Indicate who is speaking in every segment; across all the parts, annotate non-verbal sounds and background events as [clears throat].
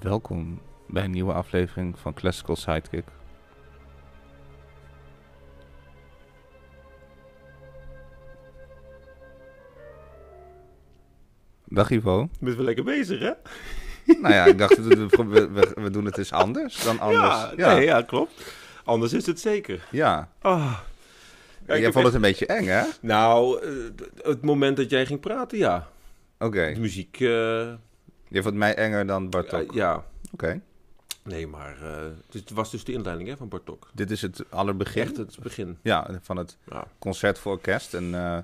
Speaker 1: Welkom bij een nieuwe aflevering van Classical Sidekick. Dag
Speaker 2: [laughs]
Speaker 1: Ivo.
Speaker 2: Bent wel lekker bezig, hè?
Speaker 1: Nou ja, ik dacht, we, we, we doen het eens anders dan anders.
Speaker 2: Ja, ja. Nee, ja, klopt. Anders is het zeker.
Speaker 1: ja.
Speaker 2: Ah. Ja, ik
Speaker 1: Jij
Speaker 2: heb
Speaker 1: vond
Speaker 2: echt-
Speaker 1: het een beetje eng, hè? Oké.
Speaker 2: Nou, eh, d- het moment dat jij ging praten, ja. De muziek, eh,
Speaker 1: Je vond mij enger dan Bartok.
Speaker 2: eh, ja.
Speaker 1: Oké.
Speaker 2: Nee, maar eh, het was dus de inleiding hè, van Bartok.
Speaker 1: Dit is het allerbegin.
Speaker 2: Echt het begin.
Speaker 1: Ja, van het
Speaker 2: Ja.
Speaker 1: concert voor orkest. En eh,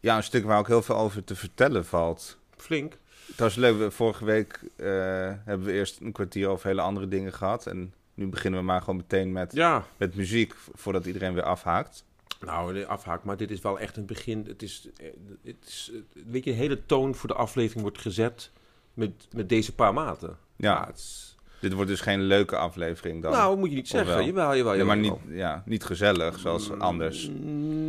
Speaker 1: ja, een stuk waar ook heel veel over te vertellen valt.
Speaker 2: Flink.
Speaker 1: Dat is leuk. We- Vorige week eh, hebben we eerst een kwartier over hele andere dingen gehad. En nu beginnen we maar gewoon meteen met,
Speaker 2: Ja.
Speaker 1: met muziek, vo- voordat iedereen weer afhaakt.
Speaker 2: Nou, nee, afhaak, maar dit is wel echt een begin. Het is, eh, het is eh, weet je, de hele toon voor de aflevering wordt gezet met, met deze paar maten. Ah,
Speaker 1: Ja,
Speaker 2: het is-
Speaker 1: dit wordt dus geen leuke aflevering dan.
Speaker 2: nou, moet je niet
Speaker 1: Of wel?
Speaker 2: zeggen. Jawel, jawel,
Speaker 1: Ja,
Speaker 2: jawel.
Speaker 1: maar niet,
Speaker 2: jawel.
Speaker 1: ja, niet gezellig, zoals anders.
Speaker 2: Mm,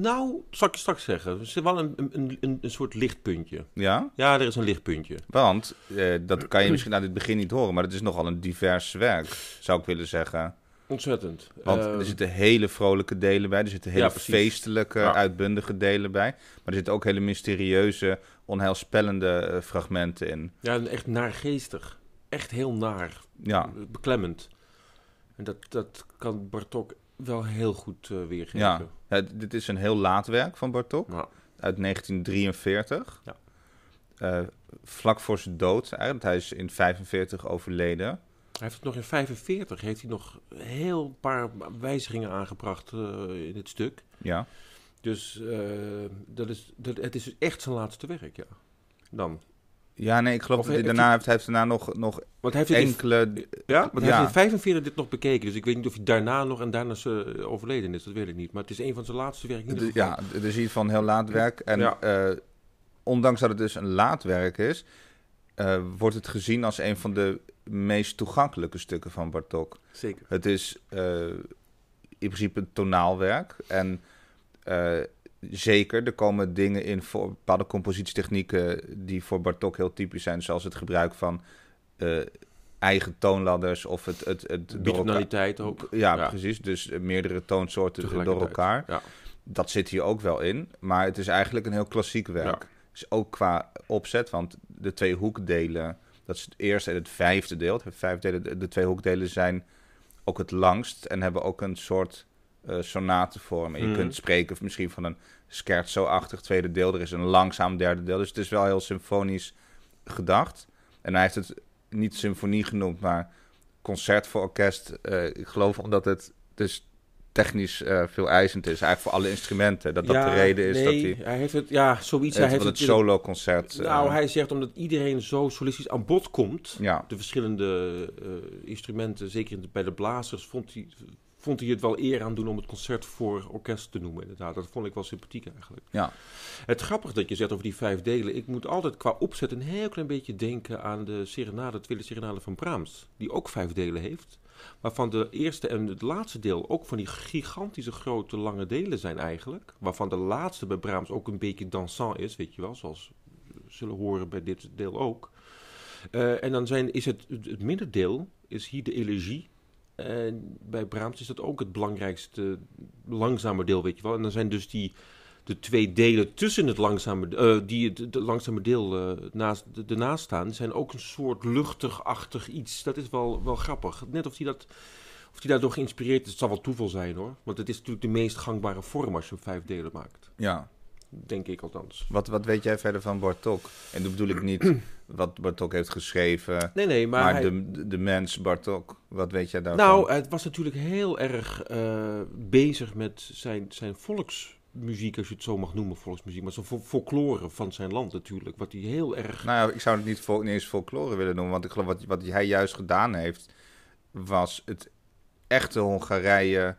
Speaker 2: Nou, zal ik je straks zeggen. Er is wel een, een, een, een soort lichtpuntje.
Speaker 1: Ja,
Speaker 2: Ja, er is een lichtpuntje.
Speaker 1: want eh, dat kan je misschien aan het begin niet horen, maar het is nogal een divers werk, zou ik willen zeggen.
Speaker 2: Ontzettend.
Speaker 1: Want
Speaker 2: Eh,
Speaker 1: er zitten hele vrolijke delen bij, er zitten hele
Speaker 2: Ja, precies.
Speaker 1: feestelijke,
Speaker 2: Ja.
Speaker 1: uitbundige delen bij. Maar er zitten ook hele mysterieuze, onheilspellende eh, fragmenten in.
Speaker 2: Ja, en echt naargeestig. Echt heel naar.
Speaker 1: Ja.
Speaker 2: Beklemmend. En dat, dat kan Bartok wel heel goed eh, weergeven.
Speaker 1: Ja, het- dit is een heel laat werk van Bartok
Speaker 2: Nou,
Speaker 1: uit 1943.
Speaker 2: Ja.
Speaker 1: Eh, vlak voor zijn dood, eigenlijk. Hij is in 45 overleden.
Speaker 2: hij heeft het nog in 45 heeft hij nog heel paar wijzigingen aangebracht eh, in het stuk.
Speaker 1: Ja.
Speaker 2: Dus eh, dat is, dat, het is dus echt zijn laatste werk, ja. Dan.
Speaker 1: Ja, nee, ik geloof
Speaker 2: Of
Speaker 1: dat hij
Speaker 2: heeft
Speaker 1: daarna heeft, hij heeft daarna nog, nog
Speaker 2: Want hij heeft het in
Speaker 1: enkele.
Speaker 2: Ja, want hij
Speaker 1: Ja.
Speaker 2: heeft in 45 dit nog bekeken. Dus ik weet niet of hij daarna nog en daarna ze eh, overleden is. Dat weet ik niet. Maar het is een van zijn laatste werken. in ieder
Speaker 1: Ja, het is iets van heel laat werk. En
Speaker 2: Ja.
Speaker 1: eh, ondanks dat het dus een laat werk is, eh, wordt het gezien als een van de meest toegankelijke stukken van Bartok.
Speaker 2: geval. Zeker.
Speaker 1: Het is eh, in principe een tonaalwerk. En eh, zeker, er komen dingen in voor bepaalde compositietechnieken die voor Bartok heel typisch zijn. Zoals het gebruik van eh, eigen toonladders of het, het, het door elkaar...
Speaker 2: Bitonaliteit ook.
Speaker 1: Ja,
Speaker 2: Ja.
Speaker 1: precies. Dus eh, meerdere toonsoorten door
Speaker 2: Tegelijkertijd.
Speaker 1: elkaar.
Speaker 2: Ja.
Speaker 1: Dat zit hier ook wel in. Maar het is eigenlijk een heel klassiek werk.
Speaker 2: Ja.
Speaker 1: Dus ook qua opzet, want de twee hoekdelen, dat is het eerste en het vijfde deel. Het heeft vijf delen. De, de twee hoekdelen zijn ook het langst en hebben ook een soort eh sonatenvorm. En je
Speaker 2: Mhm.
Speaker 1: kunt spreken misschien van een scherzo-achtig tweede deel. Er is een langzaam derde deel. Dus het is wel heel symfonisch gedacht. En hij heeft het niet symfonie genoemd, maar concert voor orkest. Eh, ik geloof omdat het dus technisch eh, veel eisend is. Eigenlijk voor alle instrumenten. Dat dat
Speaker 2: Ja,
Speaker 1: de reden is
Speaker 2: nee,
Speaker 1: dat hij...
Speaker 2: hij heeft het... Ja, zoiets. Hij
Speaker 1: Het,
Speaker 2: heeft
Speaker 1: het
Speaker 2: het in-
Speaker 1: solo-concert. eh,
Speaker 2: Nou, hij zegt omdat iedereen zo solistisch aan bod komt...
Speaker 1: Ja,
Speaker 2: De verschillende eh, instrumenten, zeker in de- bij de blazers, vond hij, vond hij het wel eer aan doen om het concert voor orkest te noemen. Inderdaad, dat vond ik wel sympathiek eigenlijk.
Speaker 1: Ja.
Speaker 2: Het grappige dat je zegt over die vijf delen. Ik moet altijd qua opzet een heel klein beetje denken aan de serenade, de tweede serenade van Brahms. Die ook vijf delen heeft. Waarvan de eerste en het laatste deel ook van die gigantische grote lange delen zijn eigenlijk. Waarvan de laatste bij Brahms ook een beetje dansant is, weet je wel. Zoals we zullen horen bij dit deel ook. Eh, en dan zijn, is het, het het middendeel, is hier de elegie. En bij Brahms is dat ook het belangrijkste, langzame deel, weet je wel. En dan zijn dus die, de twee delen tussen het langzame, eh, die het het langzame deel eh, naast, de, ernaast staan, zijn ook een soort luchtig-achtig iets. Dat is wel, wel grappig. Net of die dat... Of die daardoor geïnspireerd is, het zal wel toeval zijn hoor. Want het is natuurlijk de meest gangbare vorm als je hem vijf delen maakt.
Speaker 1: ja.
Speaker 2: Denk ik althans.
Speaker 1: Wat, wat weet jij verder van Bartok? En dan bedoel ik niet
Speaker 2: [clears throat]
Speaker 1: wat Bartok heeft geschreven,
Speaker 2: Nee, nee, maar,
Speaker 1: maar,
Speaker 2: hij-
Speaker 1: de, de mens Bartok. Wat weet jij daarvan?
Speaker 2: Nou, het was natuurlijk heel erg eh, bezig met zijn, zijn volksmuziek, als je het zo mag noemen, volksmuziek. Maar zijn fol- folklore van zijn land natuurlijk, wat hij heel erg...
Speaker 1: Nou ja, ik zou het niet, vol, niet eens folklore willen noemen, want ik geloof wat, wat hij juist gedaan heeft, was het echte Hongarije,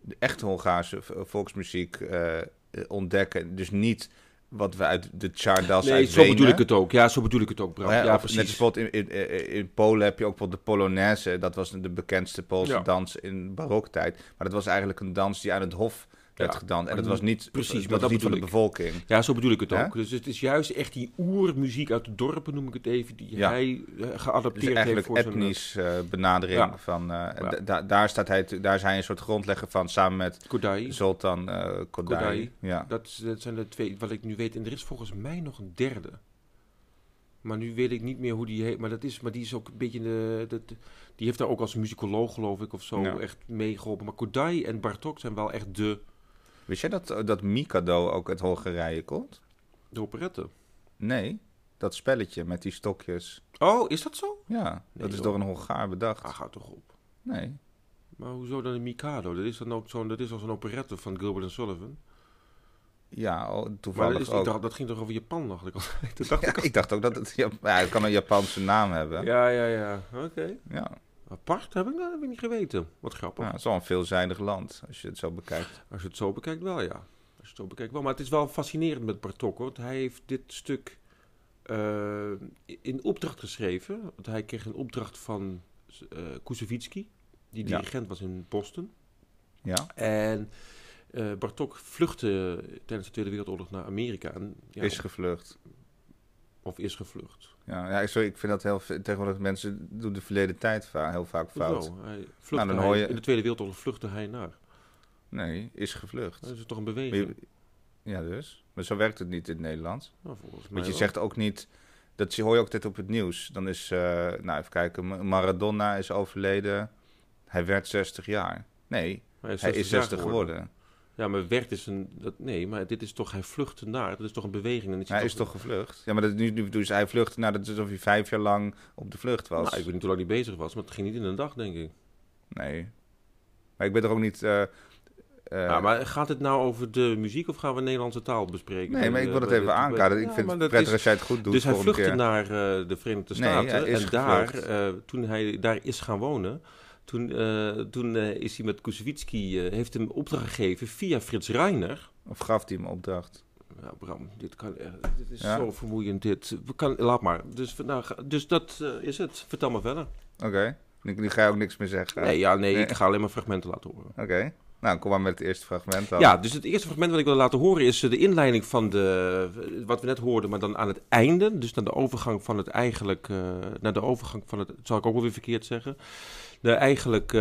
Speaker 1: de echte Hongaarse v- volksmuziek eh, eh, ontdekken. Dus niet wat we uit de Tsardas
Speaker 2: nee,
Speaker 1: uit
Speaker 2: zo
Speaker 1: Wenen-
Speaker 2: bedoel ik het ook. Ja, zo bedoel ik het ook, Bram.
Speaker 1: Hè,
Speaker 2: Ja,
Speaker 1: of Net als
Speaker 2: precies.
Speaker 1: bijvoorbeeld in, in, in- in Polen heb je ook bijvoorbeeld de Polonaise. Dat was de bekendste Poolse
Speaker 2: Ja.
Speaker 1: dans in baroktijd. Maar dat was eigenlijk een dans die aan het hof werd
Speaker 2: Ja,
Speaker 1: gedaan. En
Speaker 2: maar
Speaker 1: dat was niet,
Speaker 2: precies,
Speaker 1: dat
Speaker 2: maar
Speaker 1: was
Speaker 2: dat
Speaker 1: niet van de
Speaker 2: bedoel ik.
Speaker 1: bevolking.
Speaker 2: Ja, zo bedoel ik het
Speaker 1: Hè?
Speaker 2: ook. Dus het is juist echt die oermuziek uit de dorpen, noem ik het even, die
Speaker 1: Ja.
Speaker 2: hij eh,
Speaker 1: Dus
Speaker 2: geadapteerd heeft
Speaker 1: eigenlijk
Speaker 2: voor zijn
Speaker 1: etnisch eh, benadering
Speaker 2: Ja.
Speaker 1: van... eh, en
Speaker 2: Ja.
Speaker 1: da- da- daar, staat hij, tu- daar is hij een soort grondlegger van, samen met
Speaker 2: eh, Kodai.
Speaker 1: Zoltan eh Kodayi.
Speaker 2: Kodayi.
Speaker 1: Ja.
Speaker 2: Dat, is- dat zijn de twee wat ik nu weet. En er is volgens mij nog een derde. Maar nu weet ik niet meer hoe die heet. Maar, dat is, maar die is ook een beetje. De, dat- die heeft daar ook als muzikoloog, geloof ik, of zo
Speaker 1: Ja.
Speaker 2: echt meegeholpen. Maar Kodai en Bartok zijn wel echt de,
Speaker 1: Wist jij dat, dat Mikado ook uit Hongarije komt?
Speaker 2: de operetten.
Speaker 1: Nee, dat spelletje met die stokjes.
Speaker 2: Oh, is dat zo?
Speaker 1: Ja, dat is
Speaker 2: joh.
Speaker 1: door een Hongaar bedacht.
Speaker 2: Ah, gaat toch op.
Speaker 1: Nee.
Speaker 2: Maar hoezo dan een Mikado? Dat is dan ook zo'n. Dat is als een operette van Gilbert en Sullivan.
Speaker 1: Ja, oh,
Speaker 2: Maar
Speaker 1: toevallig
Speaker 2: dat, is, ik
Speaker 1: ook.
Speaker 2: dacht, dat ging toch over Japan, dacht ik al. dat dacht
Speaker 1: Ja,
Speaker 2: ik al.
Speaker 1: ik dacht ook dat het... Ja, het kan een Japanse naam hebben. Ja.
Speaker 2: Ja, ja, ja. Oké.
Speaker 1: Ja.
Speaker 2: Apart heb ik, dat heb ik niet geweten. Wat grappig.
Speaker 1: het is wel een veelzijdig land, als je het zo bekijkt.
Speaker 2: Als je het zo bekijkt, wel ja. Als je het zo bekijkt, wel. Maar het is wel fascinerend met Bartok, hoor, want hij heeft dit stuk eh, in opdracht geschreven. Want hij kreeg een opdracht van eh Koussevitzky, die
Speaker 1: Ja.
Speaker 2: dirigent was in Boston.
Speaker 1: Ja?
Speaker 2: En eh, Bartok vluchtte tijdens de Tweede Wereldoorlog naar Amerika. En, ja,
Speaker 1: Is gevlucht.
Speaker 2: Of is gevlucht.
Speaker 1: Ja, ja, sorry, ik vind dat heel... ve- Tegenwoordig mensen doen de verleden tijd va- heel vaak fout. Nou,
Speaker 2: Hoezo? Hij vluchtte
Speaker 1: dan hoor
Speaker 2: hij-
Speaker 1: je-
Speaker 2: In de Tweede Wereldoorlog vluchtte hij naar.
Speaker 1: Nee, is gevlucht.
Speaker 2: Dat is toch een
Speaker 1: Maar
Speaker 2: beweging?
Speaker 1: je- ja, dus. Maar zo werkt het niet in het Nederlands.
Speaker 2: Nou, volgens mij
Speaker 1: Want je
Speaker 2: wel.
Speaker 1: zegt ook niet... Dat zie- hoor je ook dit op het nieuws. Dan is, eh, nou even kijken, Ma- Maradona is overleden. Hij werd 60 jaar. Nee, hij is
Speaker 2: jaar
Speaker 1: 60 geworden.
Speaker 2: Ja, maar werd is een... Dat, nee, maar dit is toch... Hij vluchtte naar. Dat is toch een beweging. En het
Speaker 1: Hij is toch gevlucht? Ja, maar dat, nu, nu dus hij vluchtte nadat het alsof hij vijf jaar lang op de vlucht was.
Speaker 2: Nou, ik weet niet hoe lang hij bezig was, maar het ging niet in een dag, denk ik.
Speaker 1: Nee. Maar ik ben toch ook niet... eh, eh,
Speaker 2: Ja, maar gaat het nou over de muziek of gaan we Nederlandse taal bespreken?
Speaker 1: nee, maar
Speaker 2: Eh,
Speaker 1: ik wil het
Speaker 2: bij
Speaker 1: even
Speaker 2: dit- bij-
Speaker 1: aankaden. Ik
Speaker 2: Ja,
Speaker 1: vind
Speaker 2: maar
Speaker 1: het
Speaker 2: dat
Speaker 1: prettig
Speaker 2: is-
Speaker 1: als jij het goed doet
Speaker 2: Dus hij
Speaker 1: volgende
Speaker 2: vluchtte
Speaker 1: keer.
Speaker 2: naar eh, de Verenigde
Speaker 1: Nee,
Speaker 2: Staten.
Speaker 1: hij is
Speaker 2: en daar,
Speaker 1: gevlucht.
Speaker 2: eh, toen hij daar is gaan wonen, toen, eh, toen eh, is hij met Kusewitski, eh, heeft hem opdracht gegeven via Frits Reiner.
Speaker 1: Of gaf hij hem opdracht?
Speaker 2: Ja, Bram, dit, kan, echt- dit is
Speaker 1: Ja.
Speaker 2: zo vermoeiend. Dit. We kan, laat maar. Dus, vandaag, dus dat eh, is het. Vertel maar verder.
Speaker 1: Oké. Nu, nu ga je ook niks meer zeggen.
Speaker 2: Nee, ja, nee,
Speaker 1: Nee.
Speaker 2: ik ga alleen maar fragmenten laten horen.
Speaker 1: Oké. Nou, kom maar met het eerste fragment dan.
Speaker 2: Ja, dus het eerste fragment wat ik wil laten horen is eh, de inleiding van de, eh, wat we net hoorden, maar dan aan het einde. Dus naar de overgang van het eigenlijk, eh, naar de overgang van het, zal ik ook wel weer verkeerd zeggen, de eigenlijk,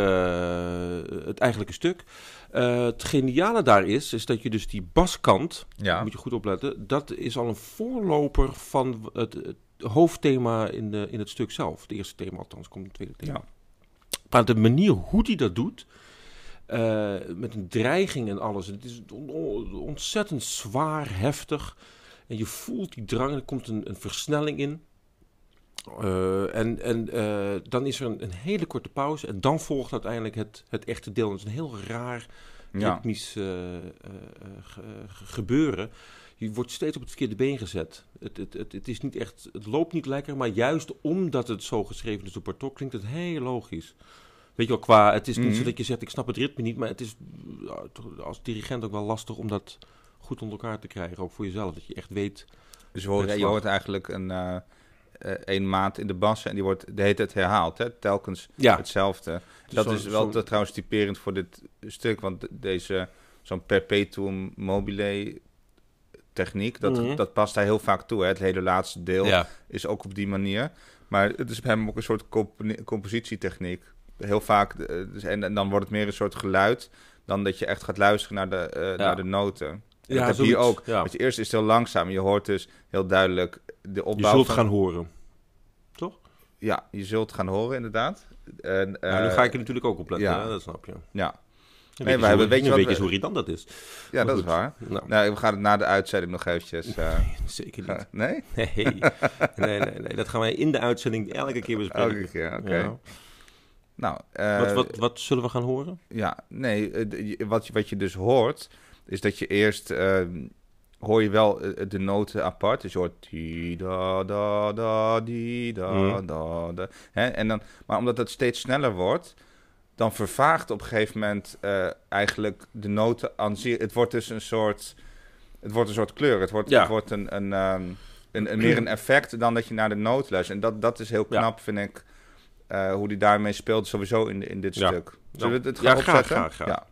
Speaker 2: eh, het eigenlijke stuk. Eh, het geniale daar is, is dat je dus die baskant,
Speaker 1: Ja.
Speaker 2: moet je goed opletten, dat is al een voorloper van het, het hoofdthema in, de, in het stuk zelf. Het eerste thema althans, komt het tweede thema.
Speaker 1: Ja.
Speaker 2: Maar de manier hoe hij dat doet, eh, met een dreiging en alles, het is on- on- ontzettend zwaar, heftig. En je voelt die drang, er komt een, een versnelling in. Eh, en en eh, dan is er een, een hele korte pauze en dan volgt uiteindelijk het, het echte deel. Het is een heel raar
Speaker 1: Ja.
Speaker 2: ritmisch eh, eh, eh, ge- ge- gebeuren. Je wordt steeds op het verkeerde been gezet. Het, het, het, het, is niet echt, het loopt niet lekker, maar juist omdat het zo geschreven is door Bartok, klinkt het heel logisch. Weet je wel, qua, het is niet
Speaker 1: Mhm.
Speaker 2: zo dat je zegt, ik snap het ritme niet, maar het is ja, toch als dirigent ook wel lastig om dat goed onder elkaar te krijgen, ook voor jezelf. Dat je echt weet,
Speaker 1: Dus je hoort,
Speaker 2: Het
Speaker 1: je
Speaker 2: slag.
Speaker 1: hoort eigenlijk een, eh eh, één maand in de bassen en die wordt de hele tijd herhaald. Hè? Telkens
Speaker 2: ja,
Speaker 1: hetzelfde.
Speaker 2: Dus
Speaker 1: dat
Speaker 2: zo'n-
Speaker 1: is wel
Speaker 2: zo'n-
Speaker 1: trouwens typerend voor dit stuk, want de- deze zo'n perpetuum mobile techniek, dat,
Speaker 2: Mhm.
Speaker 1: dat past hij heel vaak toe. Hè? Het hele laatste deel
Speaker 2: ja.
Speaker 1: is ook op die manier. Maar het is bij hem ook een soort compone- compositietechniek. Heel vaak, eh, dus- en, en dan wordt het meer een soort geluid dan dat je echt gaat luisteren naar de, eh, naar de noten. En dat heb je hier
Speaker 2: zoiets.
Speaker 1: ook.
Speaker 2: Ja.
Speaker 1: Want je eerst is het heel langzaam. Je hoort dus heel duidelijk de
Speaker 2: Je
Speaker 1: opbouw
Speaker 2: zult
Speaker 1: van-
Speaker 2: gaan horen.
Speaker 1: Ja, je zult gaan horen inderdaad. En,
Speaker 2: nou, nu
Speaker 1: eh,
Speaker 2: ga ik er natuurlijk ook op letten,
Speaker 1: ja.
Speaker 2: hè, dat snap je. Dan
Speaker 1: Ja,
Speaker 2: weet
Speaker 1: we
Speaker 2: je zo-
Speaker 1: hebben- weet je
Speaker 2: dan
Speaker 1: wat
Speaker 2: weet
Speaker 1: we-
Speaker 2: je eens hoe irritant dat is.
Speaker 1: ja dat
Speaker 2: goed.
Speaker 1: is waar.
Speaker 2: Nou,
Speaker 1: Nou, we gaan het na de uitzending nog eventjes... eh,
Speaker 2: [laughs] zeker niet.
Speaker 1: gaan- nee? [laughs]
Speaker 2: Nee. nee, nee, nee. Dat gaan wij in de uitzending elke keer bespreken.
Speaker 1: Elke keer, oké.
Speaker 2: Ja.
Speaker 1: Nou, eh,
Speaker 2: wat, wat, wat zullen we gaan horen?
Speaker 1: ja, nee, eh, d- je- wat, je- wat je dus hoort, is dat je eerst... eh, hoor je wel eh, de noten apart. Dus je hoort... Die, da, da, da, die, da,
Speaker 2: Mhm.
Speaker 1: da, da. Hè? En dan, maar omdat dat steeds sneller wordt... Dan vervaagt op een gegeven moment eh, eigenlijk de noten aan zich. Het wordt dus een soort, het wordt een soort kleur. Het wordt,
Speaker 2: Ja.
Speaker 1: het wordt een, een, ehm, een, een- meer een effect dan dat je naar de noot luistert. En dat, dat is heel
Speaker 2: Ja.
Speaker 1: knap, vind ik, eh, hoe die daarmee speelt, sowieso in, in dit
Speaker 2: Ja.
Speaker 1: stuk. Zullen we het
Speaker 2: Ja,
Speaker 1: gaan
Speaker 2: graag,
Speaker 1: opzetten?
Speaker 2: graag, graag.
Speaker 1: Ja.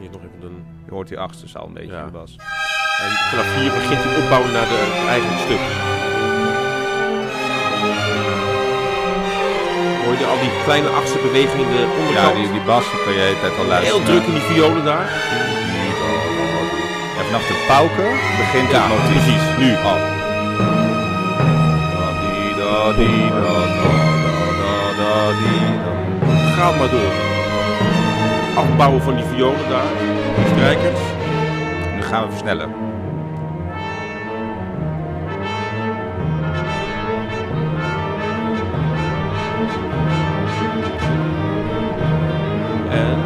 Speaker 2: Hier nog even een...
Speaker 1: Je hoort die achtste zaal een beetje
Speaker 2: Ja.
Speaker 1: in de bas.
Speaker 2: En vanaf hier begint hij opbouw naar de, het eigen stuk. Hoor je al die kleine achtste bewegingen in de
Speaker 1: Ja,
Speaker 2: onderkant?
Speaker 1: die, die bas die kan je de hele tijd al luisteren.
Speaker 2: Heel druk in die violen daar.
Speaker 1: En vanaf de pauken begint
Speaker 2: Ja,
Speaker 1: het motief.
Speaker 2: precies,
Speaker 1: Nu al. Da, di, da, di, da, da, da, da, da, di, da.
Speaker 2: Ga maar door. Afbouwen van die violen daar. Die strijkers.
Speaker 1: Nu gaan we versnellen.
Speaker 2: En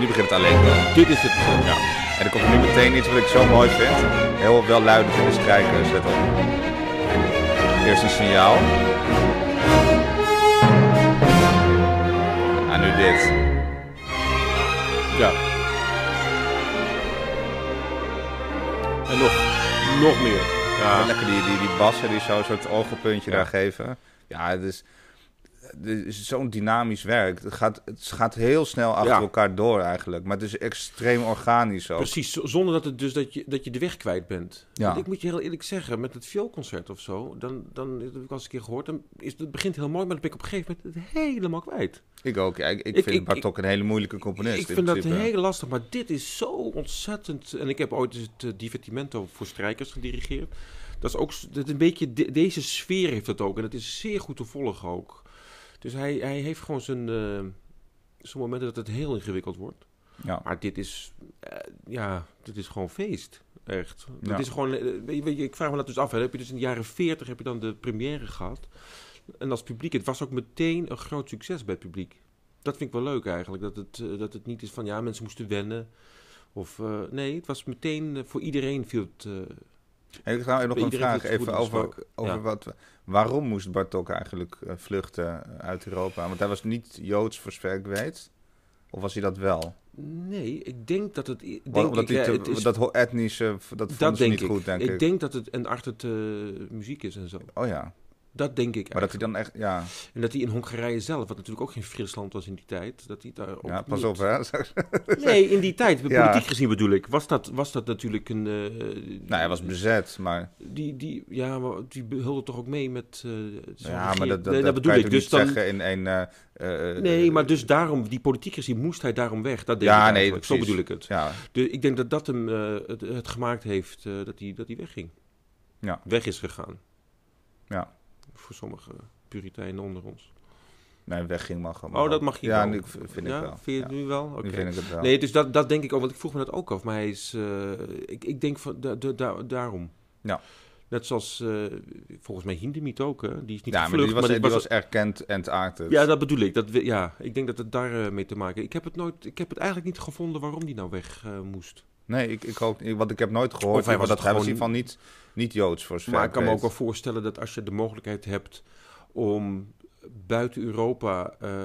Speaker 1: Nu begint het alleen. En
Speaker 2: dit is het. eh, Ja.
Speaker 1: er komt nu meteen iets wat ik zo mooi vind. Heel wel luidend in de strijkers. Let op. Eerst een signaal. En nu dit.
Speaker 2: ja. En nog, nog meer.
Speaker 1: Wel
Speaker 2: Ja.
Speaker 1: Lekker die, die, die bassen die zo'n soort ogenpuntje daar geven. Ja, het is, het is zo'n dynamisch werk. Het gaat, het gaat heel snel achter
Speaker 2: Ja.
Speaker 1: elkaar door eigenlijk. Maar het is extreem organisch ook.
Speaker 2: Precies, z- zonder dat, het dus dat, je, dat je de weg kwijt bent.
Speaker 1: Ja.
Speaker 2: Want ik moet je heel eerlijk zeggen, met het vioolconcert of zo, dan, dan dat heb ik al eens een keer gehoord, dan is, het begint heel mooi, maar dan ben ik op een gegeven moment het helemaal kwijt.
Speaker 1: Ik ook. Ja, ik, ik
Speaker 2: Ik-
Speaker 1: vind
Speaker 2: ik-
Speaker 1: Bartok een hele moeilijke componist.
Speaker 2: ik
Speaker 1: in
Speaker 2: vind dat
Speaker 1: principe.
Speaker 2: heel lastig, maar dit is zo ontzettend... En ik heb ooit eens het eh, Divertimento voor strijkers gedirigeerd. Dat is ook s- dat een beetje de- deze sfeer heeft dat ook. En het is zeer goed te volgen ook. Dus hij, hij heeft gewoon zijn, eh, zijn momenten dat het heel ingewikkeld wordt.
Speaker 1: Ja.
Speaker 2: Maar dit is, eh, ja, dit is gewoon feest. Echt.
Speaker 1: Ja.
Speaker 2: Dit is gewoon, eh, weet je, weet je, ik vraag me dat dus af. Hè. Heb je dus in de jaren 40 heb je dan de première gehad. En als publiek, het was ook meteen een groot succes bij het publiek. Dat vind ik wel leuk eigenlijk. Dat het, eh, dat het niet is van, ja, mensen moesten wennen. Of, eh, nee, het was meteen, eh, voor iedereen viel het... eh,
Speaker 1: Heb ik nou nog
Speaker 2: Bij
Speaker 1: een
Speaker 2: iedereen
Speaker 1: vraag
Speaker 2: doet het
Speaker 1: even
Speaker 2: goed,
Speaker 1: over,
Speaker 2: dus ook.
Speaker 1: over
Speaker 2: Ja.
Speaker 1: wat... we- Waarom moest Bartok eigenlijk eh, vluchten uit Europa? Want hij was niet Joods, voor zover ik weet. Of was hij dat wel?
Speaker 2: nee, ik denk dat het... ik Denk
Speaker 1: Omdat
Speaker 2: ik,
Speaker 1: hij
Speaker 2: eh,
Speaker 1: te-
Speaker 2: het is-
Speaker 1: dat ho- etnische, v- dat vond ze
Speaker 2: denk
Speaker 1: niet
Speaker 2: ik.
Speaker 1: goed, denk ik.
Speaker 2: ik denk dat het en achter het eh, muziek is en zo.
Speaker 1: Oh ja,
Speaker 2: Dat denk ik
Speaker 1: maar dat
Speaker 2: eigenlijk.
Speaker 1: hij dan echt... Ja.
Speaker 2: En dat hij in Hongarije zelf, wat natuurlijk ook geen Friesland was in die tijd, dat hij daar ook
Speaker 1: Ja, pas
Speaker 2: niet-
Speaker 1: op hè. [laughs] Nou,
Speaker 2: Nee, in die tijd,
Speaker 1: Ja.
Speaker 2: politiek gezien bedoel ik, was dat, was dat natuurlijk een... eh,
Speaker 1: Nou, hij was bezet, maar
Speaker 2: die, die, ja, maar die hulde toch ook mee met... eh, zo'n
Speaker 1: ja, maar
Speaker 2: regering.
Speaker 1: dat, dat,
Speaker 2: nee,
Speaker 1: dat
Speaker 2: bedoel
Speaker 1: kan je
Speaker 2: ik.
Speaker 1: toch
Speaker 2: Dus
Speaker 1: niet
Speaker 2: dan,
Speaker 1: zeggen in een... eh, eh,
Speaker 2: nee, maar dus daarom, die politiek gezien moest hij daarom weg. Dat denk
Speaker 1: Ja,
Speaker 2: ik
Speaker 1: nee,
Speaker 2: eigenlijk. Zo
Speaker 1: precies.
Speaker 2: bedoel ik het.
Speaker 1: Ja,
Speaker 2: Dus ik denk dat dat hem eh, het, het gemaakt heeft eh, dat hij dat hij wegging.
Speaker 1: Ja.
Speaker 2: Weg is gegaan.
Speaker 1: Ja.
Speaker 2: Voor sommige puriteinen onder ons.
Speaker 1: nee, wegging mag gewoon.
Speaker 2: Oh, dat mag je
Speaker 1: Ja,
Speaker 2: wel.
Speaker 1: nu v- vind ik
Speaker 2: ja,
Speaker 1: wel.
Speaker 2: Vind je het
Speaker 1: Ja,
Speaker 2: nu wel? Oké.
Speaker 1: nu vind ik het wel.
Speaker 2: Nee, dus dat, dat denk ik ook, want ik vroeg me dat ook af. Maar hij is, eh, ik, ik denk van, da- da- da- daarom.
Speaker 1: Ja.
Speaker 2: Net zoals, eh, volgens mij Hindemiet ook, hè? Die is niet
Speaker 1: ja, maar
Speaker 2: gevlucht,
Speaker 1: die was,
Speaker 2: maar
Speaker 1: die
Speaker 2: dit
Speaker 1: was, erkend Antarctus.
Speaker 2: Ja, dat bedoel ik. Dat, we- ja, ik denk dat het daar eh, mee te maken Ik heb het nooit, ik heb het eigenlijk niet gevonden waarom die nou weg eh, moest.
Speaker 1: Nee, ik, ik ook niet, want ik heb nooit gehoord.
Speaker 2: Of hij was
Speaker 1: dat hij was in ieder geval
Speaker 2: gewoon-
Speaker 1: niet, niet Joods, voor zover
Speaker 2: maar ik kan me
Speaker 1: weet.
Speaker 2: ook wel voorstellen dat als je de mogelijkheid hebt om buiten Europa eh,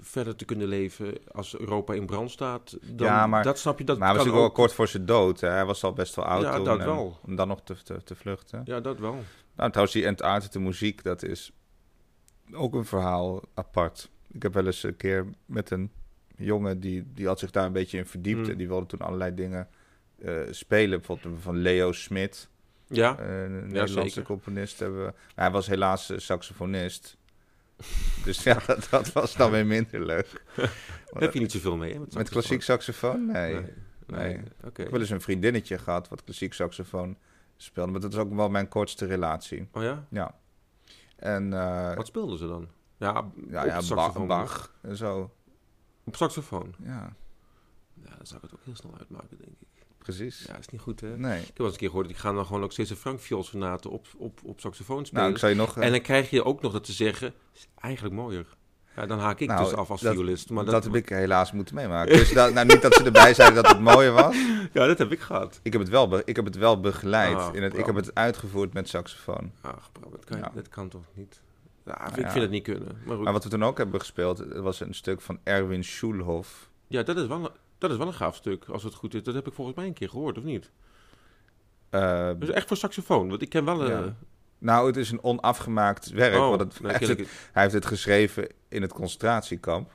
Speaker 2: verder te kunnen leven als Europa in brand staat, dan
Speaker 1: Ja, maar-
Speaker 2: dat snap je dat
Speaker 1: maar hij was
Speaker 2: kan
Speaker 1: natuurlijk
Speaker 2: ook.
Speaker 1: wel kort voor zijn dood. Hè. Hij was al best wel oud
Speaker 2: Ja,
Speaker 1: toen.
Speaker 2: dat
Speaker 1: en-
Speaker 2: wel.
Speaker 1: Om dan nog te, te, te vluchten.
Speaker 2: Ja, dat wel.
Speaker 1: Nou, trouwens, die Antarctische muziek, dat is ook een verhaal apart. Ik heb wel eens een keer met een jongen die, die had zich daar een beetje in verdiept.
Speaker 2: Mm.
Speaker 1: En die wilde toen allerlei dingen eh, spelen. Bijvoorbeeld van Leo Smit,
Speaker 2: Ja.
Speaker 1: Eh, een Nederlandse
Speaker 2: zeker.
Speaker 1: componist. Hebben. we. Maar hij was helaas eh, saxofonist. [laughs] Dus ja, dat, dat was dan weer minder leuk.
Speaker 2: Daar heb je niet zoveel mee, hè?
Speaker 1: Met klassiek saxofoon? Nee.
Speaker 2: Nee.
Speaker 1: Nee.
Speaker 2: Oké.
Speaker 1: Ik heb wel eens een vriendinnetje gehad wat klassiek saxofoon speelde. Maar dat is ook wel mijn kortste relatie.
Speaker 2: Oh ja?
Speaker 1: Ja. En eh,
Speaker 2: Wat speelden ze dan? Ja,
Speaker 1: Ja,
Speaker 2: op
Speaker 1: ja,
Speaker 2: saxofoon.
Speaker 1: Bach, Bach en zo.
Speaker 2: Op saxofoon.
Speaker 1: Ja,
Speaker 2: Ja, dan zou ik het ook heel snel uitmaken, denk ik.
Speaker 1: precies.
Speaker 2: Ja, is niet goed, hè? Ik
Speaker 1: Nee.
Speaker 2: heb wel eens een keer gehoord, ik ga dan gewoon ook steeds een Frank Viool sonate op, op, op saxofoon spelen.
Speaker 1: Nou, ik zou je nog...
Speaker 2: En dan krijg je ook nog dat ze zeggen, is eigenlijk mooier. Ja, dan haak ik
Speaker 1: Nou,
Speaker 2: dus af als
Speaker 1: dat-
Speaker 2: violist. Maar
Speaker 1: dat,
Speaker 2: dat,
Speaker 1: heb ik helaas moeten meemaken. Dus dat, nou, niet dat ze erbij zeiden dat het mooier was.
Speaker 2: Ja, dat heb ik gehad.
Speaker 1: Ik heb het wel, be- ik heb het wel begeleid.
Speaker 2: Ah,
Speaker 1: in het, ik heb het uitgevoerd met saxofoon.
Speaker 2: Ach, bro, Ah, dat kan, je-
Speaker 1: Ja.
Speaker 2: dat kan toch niet? Ja, Ah, ik
Speaker 1: ja.
Speaker 2: vind het niet kunnen. Maar goed.
Speaker 1: Maar wat we toen ook hebben gespeeld, het was een stuk van Erwin Schulhoff.
Speaker 2: Ja, dat is, wel een, dat is wel een gaaf stuk, als het goed is. Dat heb ik volgens mij een keer gehoord, of niet?
Speaker 1: Eh,
Speaker 2: Dus echt voor saxofoon, want ik ken wel... eh,
Speaker 1: Ja. Nou, het is een onafgemaakt werk.
Speaker 2: Oh,
Speaker 1: want het-
Speaker 2: nou,
Speaker 1: hij, heeft
Speaker 2: kennelijk-
Speaker 1: het, hij heeft het geschreven in het concentratiekamp.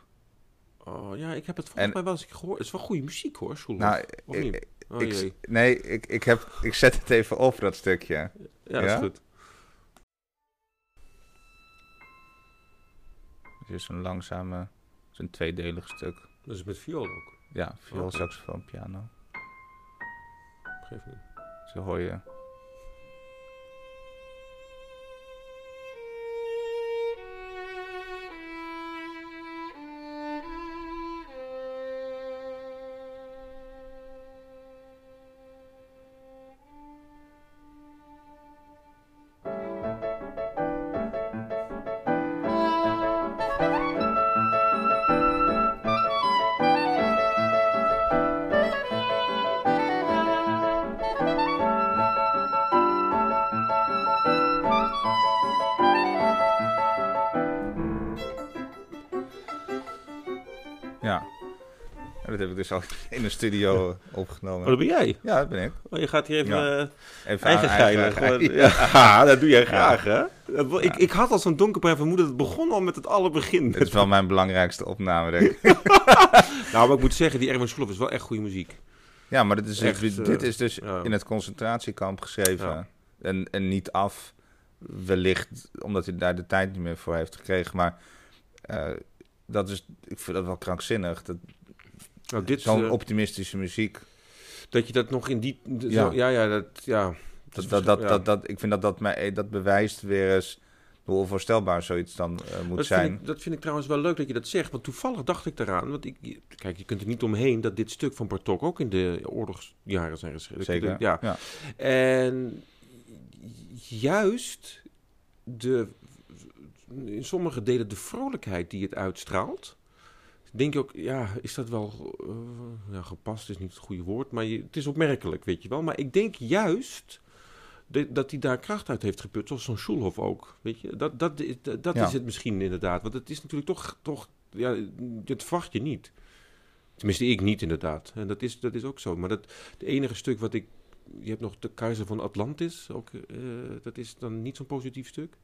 Speaker 2: Oh ja, ik heb het volgens
Speaker 1: En-
Speaker 2: mij wel eens gehoord. Het is wel goede muziek hoor, Soelof.
Speaker 1: Nou,
Speaker 2: of
Speaker 1: ik-
Speaker 2: niet?
Speaker 1: ik-
Speaker 2: Oh
Speaker 1: ik,
Speaker 2: jee.
Speaker 1: nee, ik, ik, heb, ik zet het even op, dat stukje.
Speaker 2: Ja, dat
Speaker 1: ja?
Speaker 2: is goed.
Speaker 1: Het is een langzame, het is een tweedelig stuk.
Speaker 2: Dat is met viool ook.
Speaker 1: Ja, viool,
Speaker 2: Oké.
Speaker 1: saxofoon, piano.
Speaker 2: Geef niet.
Speaker 1: Zo hoor je. Ja. En dat heb ik dus al [laughs] in de studio eh,
Speaker 2: Oh,
Speaker 1: opgenomen.
Speaker 2: dat ben jij.
Speaker 1: Ja, dat ben ik.
Speaker 2: Oh, je gaat hier even...
Speaker 1: Ja.
Speaker 2: eh,
Speaker 1: Even
Speaker 2: Eigen
Speaker 1: aan-
Speaker 2: geilen.
Speaker 1: eigen- [laughs]
Speaker 2: gewoon-
Speaker 1: eigen-
Speaker 2: ja. dat doe jij graag, hè? Dat wil- eh, Ik,
Speaker 1: Ja.
Speaker 2: ik had al zo'n donkerbruin vermoeden. Het begon al met het allerbegin.
Speaker 1: Het is wel mijn belangrijkste opname, denk ik.
Speaker 2: Nou, maar ik moet zeggen, die Erwin Scholof is wel echt goede muziek.
Speaker 1: Ja, maar dit is,
Speaker 2: Echt, eh,
Speaker 1: dit is dus
Speaker 2: ja.
Speaker 1: in het concentratiekamp geschreven.
Speaker 2: Ja.
Speaker 1: En, en niet af, wellicht omdat hij daar de tijd niet meer voor heeft gekregen. Maar eh, dat is, ik vind dat wel krankzinnig. Dat,
Speaker 2: Nou, dit,
Speaker 1: zo'n
Speaker 2: eh,
Speaker 1: optimistische muziek.
Speaker 2: dat je dat nog in die... d- zo-
Speaker 1: Ja.
Speaker 2: Ja, ja, dat... Ja. Dat
Speaker 1: Dat,
Speaker 2: is
Speaker 1: dat, dat,
Speaker 2: ja.
Speaker 1: dat, dat- ik vind dat dat, mij, eh, dat bewijst weer eens hoe onvoorstelbaar zoiets dan eh, moet
Speaker 2: Dat
Speaker 1: zijn.
Speaker 2: Vind ik, dat vind ik trouwens wel leuk dat je dat zegt. Want toevallig dacht ik daaraan. Want ik, je- kijk, je kunt er niet omheen dat dit stuk van Bartok ook in de oorlogsjaren zijn geschreven.
Speaker 1: Zeker.
Speaker 2: Ja.
Speaker 1: Ja.
Speaker 2: En juist de, in sommige delen de vrolijkheid die het uitstraalt. Denk je ook, ja, is dat wel eh, ja, gepast? Is niet het goede woord, maar je- het is opmerkelijk, weet je wel. Maar ik denk juist de- dat hij daar kracht uit heeft geput, zoals zo'n Schulhof ook. Weet je, dat, dat, is- dat, dat
Speaker 1: Ja.
Speaker 2: is het misschien inderdaad. Want het is natuurlijk toch, toch ja, dat verwacht je niet. Tenminste, ik niet inderdaad. En dat is, dat is ook zo. Maar dat, het enige stuk wat ik. Je hebt nog de Keizer van Atlantis. Ook, eh, dat is dan niet zo'n positief stuk.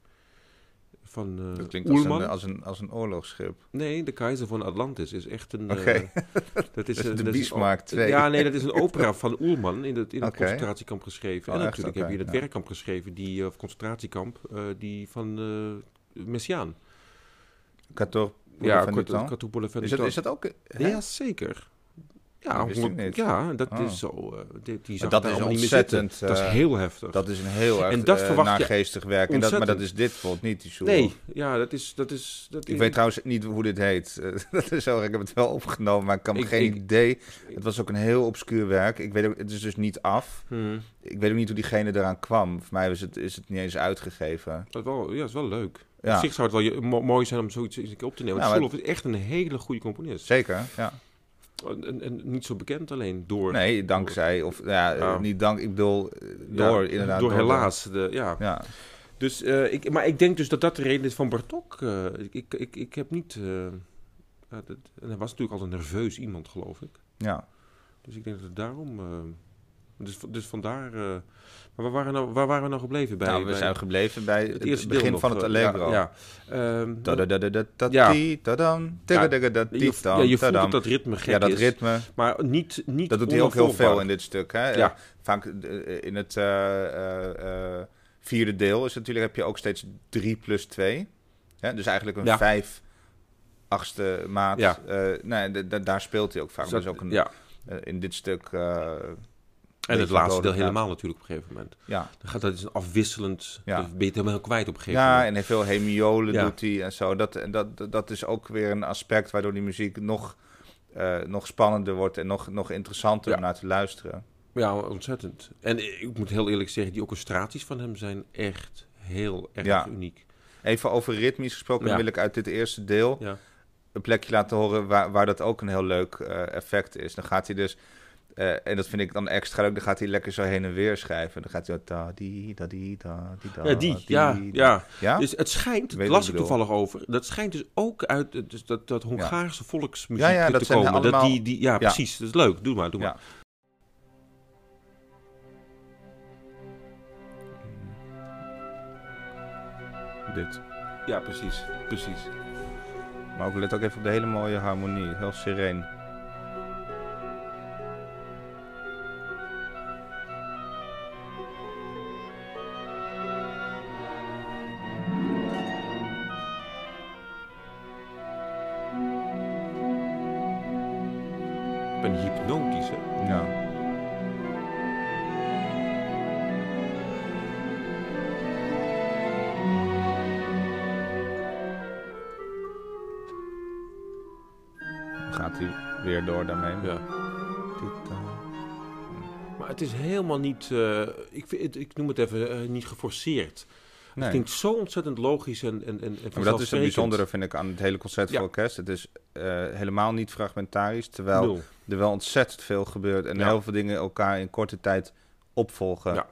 Speaker 2: Van eh
Speaker 1: dat klinkt als
Speaker 2: Oelman.
Speaker 1: een, als, een, als een oorlogsschip.
Speaker 2: Nee, de Keizer van Atlantis is echt een. eh,
Speaker 1: Oké. [laughs]
Speaker 2: dat is
Speaker 1: Dus de
Speaker 2: een- dat is een-
Speaker 1: Bismarck 2.
Speaker 2: Ja, nee, dat is een
Speaker 1: [laughs]
Speaker 2: opera van Oelman in het, in het
Speaker 1: Oké.
Speaker 2: concentratiekamp geschreven.
Speaker 1: Oh,
Speaker 2: en
Speaker 1: echt?
Speaker 2: natuurlijk heb
Speaker 1: Oké,
Speaker 2: je in het
Speaker 1: ja.
Speaker 2: werkkamp geschreven, die, eh, of concentratiekamp, eh, die van eh, Messiaan.
Speaker 1: Kator
Speaker 2: Ja,
Speaker 1: van
Speaker 2: Cort-
Speaker 1: Dutan.
Speaker 2: Catoupole van
Speaker 1: Is dat,
Speaker 2: Dutan.
Speaker 1: is dat ook... hè?
Speaker 2: Ja, zeker. Ja,
Speaker 1: Dat wist ik
Speaker 2: honderd-
Speaker 1: niet.
Speaker 2: ja dat
Speaker 1: Oh.
Speaker 2: is zo. eh, die, die zag
Speaker 1: dat
Speaker 2: daar
Speaker 1: is
Speaker 2: allemaal niet meer zitten.
Speaker 1: ontzettend, eh,
Speaker 2: dat is heel heftig.
Speaker 1: Dat is een heel erg
Speaker 2: En dat
Speaker 1: eh,
Speaker 2: verwacht je
Speaker 1: naargeestig werk. En dat, maar dat
Speaker 2: ontzettend.
Speaker 1: is dit bijvoorbeeld niet, die Sjoerd.
Speaker 2: nee, ja, dat is... Dat is dat
Speaker 1: Ik weet trouwens niet hoe dit heet. [laughs] Eh, dat is zo, ik heb het wel opgenomen, maar ik kan me
Speaker 2: Ik-
Speaker 1: geen
Speaker 2: ik-
Speaker 1: idee. Het was ook een heel obscuur werk. Ik weet ook, het is dus niet af.
Speaker 2: Hmm.
Speaker 1: Ik weet ook niet hoe diegene eraan kwam. Voor mij is het, is het niet eens uitgegeven.
Speaker 2: Dat, is wel, ja, dat is wel leuk.
Speaker 1: Ja,
Speaker 2: Op zich zou het wel je- mo- mooi zijn om zoiets eens een keer op te nemen.
Speaker 1: Ja,
Speaker 2: Want
Speaker 1: maar-
Speaker 2: Soeloff is echt een hele goede componist.
Speaker 1: zeker. Ja.
Speaker 2: En, en, en niet zo bekend alleen door...
Speaker 1: Nee, dankzij. Of ja, eh,
Speaker 2: Ja.
Speaker 1: niet dank. Ik bedoel, eh,
Speaker 2: ja,
Speaker 1: door inderdaad.
Speaker 2: Door
Speaker 1: de-
Speaker 2: helaas. De, ja.
Speaker 1: Ja.
Speaker 2: Dus, eh, ik, maar ik denk dus dat dat de reden is van Bartok. eh, ik, ik, ik, ik heb niet... eh, ja, dat, en hij was natuurlijk altijd een nerveus iemand, geloof ik.
Speaker 1: ja.
Speaker 2: Dus ik denk dat het daarom... eh, dus, dus vandaar... eh, maar waar waren, we nou, waar waren we nou gebleven bij?
Speaker 1: nou, we
Speaker 2: bij
Speaker 1: zijn gebleven bij het,
Speaker 2: het eerste deel
Speaker 1: begin
Speaker 2: nog,
Speaker 1: van het
Speaker 2: eh,
Speaker 1: Allegro.
Speaker 2: Ja, ja. Ehm, Ja. je, ja, je voelt dat
Speaker 1: Ja,
Speaker 2: dat ritme gek
Speaker 1: ja, dat
Speaker 2: is,
Speaker 1: ritme.
Speaker 2: maar niet, niet
Speaker 1: Dat doet hij ook heel veel
Speaker 2: onafvolgbaar.
Speaker 1: in dit stuk. Hè?
Speaker 2: Ja.
Speaker 1: Eh, Vaak eh, in het eh, eh, eh, vierde deel is natuurlijk, heb je ook steeds 3 plus 2. Hè? Dus eigenlijk een
Speaker 2: Ja.
Speaker 1: 5 achtste maat.
Speaker 2: Ja.
Speaker 1: Eh, nee, d- d- daar speelt hij ook vaak.
Speaker 2: Dus
Speaker 1: Dat
Speaker 2: dat-
Speaker 1: is ook een,
Speaker 2: ja.
Speaker 1: eh, in dit stuk. eh,
Speaker 2: En het
Speaker 1: beetje
Speaker 2: laatste deel
Speaker 1: dodelijk, ja.
Speaker 2: helemaal natuurlijk op een gegeven moment.
Speaker 1: ja.
Speaker 2: Dan gaat dat is een afwisselend,
Speaker 1: Ja.
Speaker 2: dan ben je het helemaal kwijt op een gegeven
Speaker 1: ja,
Speaker 2: moment.
Speaker 1: en heel veel hemiolen
Speaker 2: Ja.
Speaker 1: doet hij en zo. Dat, en dat, dat- dat is ook weer een aspect waardoor die muziek nog, eh, nog spannender wordt en nog, nog interessanter om
Speaker 2: Ja.
Speaker 1: naar te luisteren.
Speaker 2: Ja, ontzettend. En ik moet heel eerlijk zeggen, die orchestraties van hem zijn echt heel erg
Speaker 1: Ja.
Speaker 2: uniek.
Speaker 1: Even over ritmisch gesproken
Speaker 2: Ja.
Speaker 1: wil ik uit dit eerste deel
Speaker 2: Ja.
Speaker 1: een plekje laten horen waar, waar dat ook een heel leuk eh, effect is. Dan gaat hij dus, eh, en dat vind ik dan extra leuk, dan gaat hij lekker zo heen en weer schrijven. Dan gaat hij zo da di da di da di da.
Speaker 2: Ja, die.
Speaker 1: di,
Speaker 2: Ja,
Speaker 1: da.
Speaker 2: ja.
Speaker 1: Ja?
Speaker 2: Dus het schijnt,
Speaker 1: Weet wat
Speaker 2: daar
Speaker 1: ik
Speaker 2: las ik
Speaker 1: bedoel.
Speaker 2: toevallig over, dat schijnt dus ook uit eh, dus dat, dat Hongaarse volksmuziek
Speaker 1: Ja, ja,
Speaker 2: te
Speaker 1: dat zijn
Speaker 2: komen.
Speaker 1: allemaal-
Speaker 2: Dat die, die, ja, precies. Dat is leuk. Doe maar, doe
Speaker 1: Ja.
Speaker 2: maar.
Speaker 1: dit.
Speaker 2: Ja, precies. Precies.
Speaker 1: Maar ook let ook even op de hele mooie harmonie. Heel sereen.
Speaker 2: Ik ben hypnotisch, hè?
Speaker 1: Ja. Dan Gaat hij weer door daarmee? eh,
Speaker 2: Ja. Maar het is helemaal niet, eh, ik, vind het- ik noem het even, eh, niet geforceerd.
Speaker 1: Nee.
Speaker 2: Het klinkt zo ontzettend logisch en, en,
Speaker 1: Maar
Speaker 2: en, en
Speaker 1: dat is het
Speaker 2: vanzelfsprekend.
Speaker 1: bijzondere, vind ik, aan het hele concert voor
Speaker 2: Ja.
Speaker 1: orkest. Het is eh, helemaal niet fragmentarisch, terwijl
Speaker 2: Nul.
Speaker 1: er wel ontzettend veel gebeurt. En
Speaker 2: Ja.
Speaker 1: heel veel dingen elkaar in korte tijd opvolgen.
Speaker 2: Ja.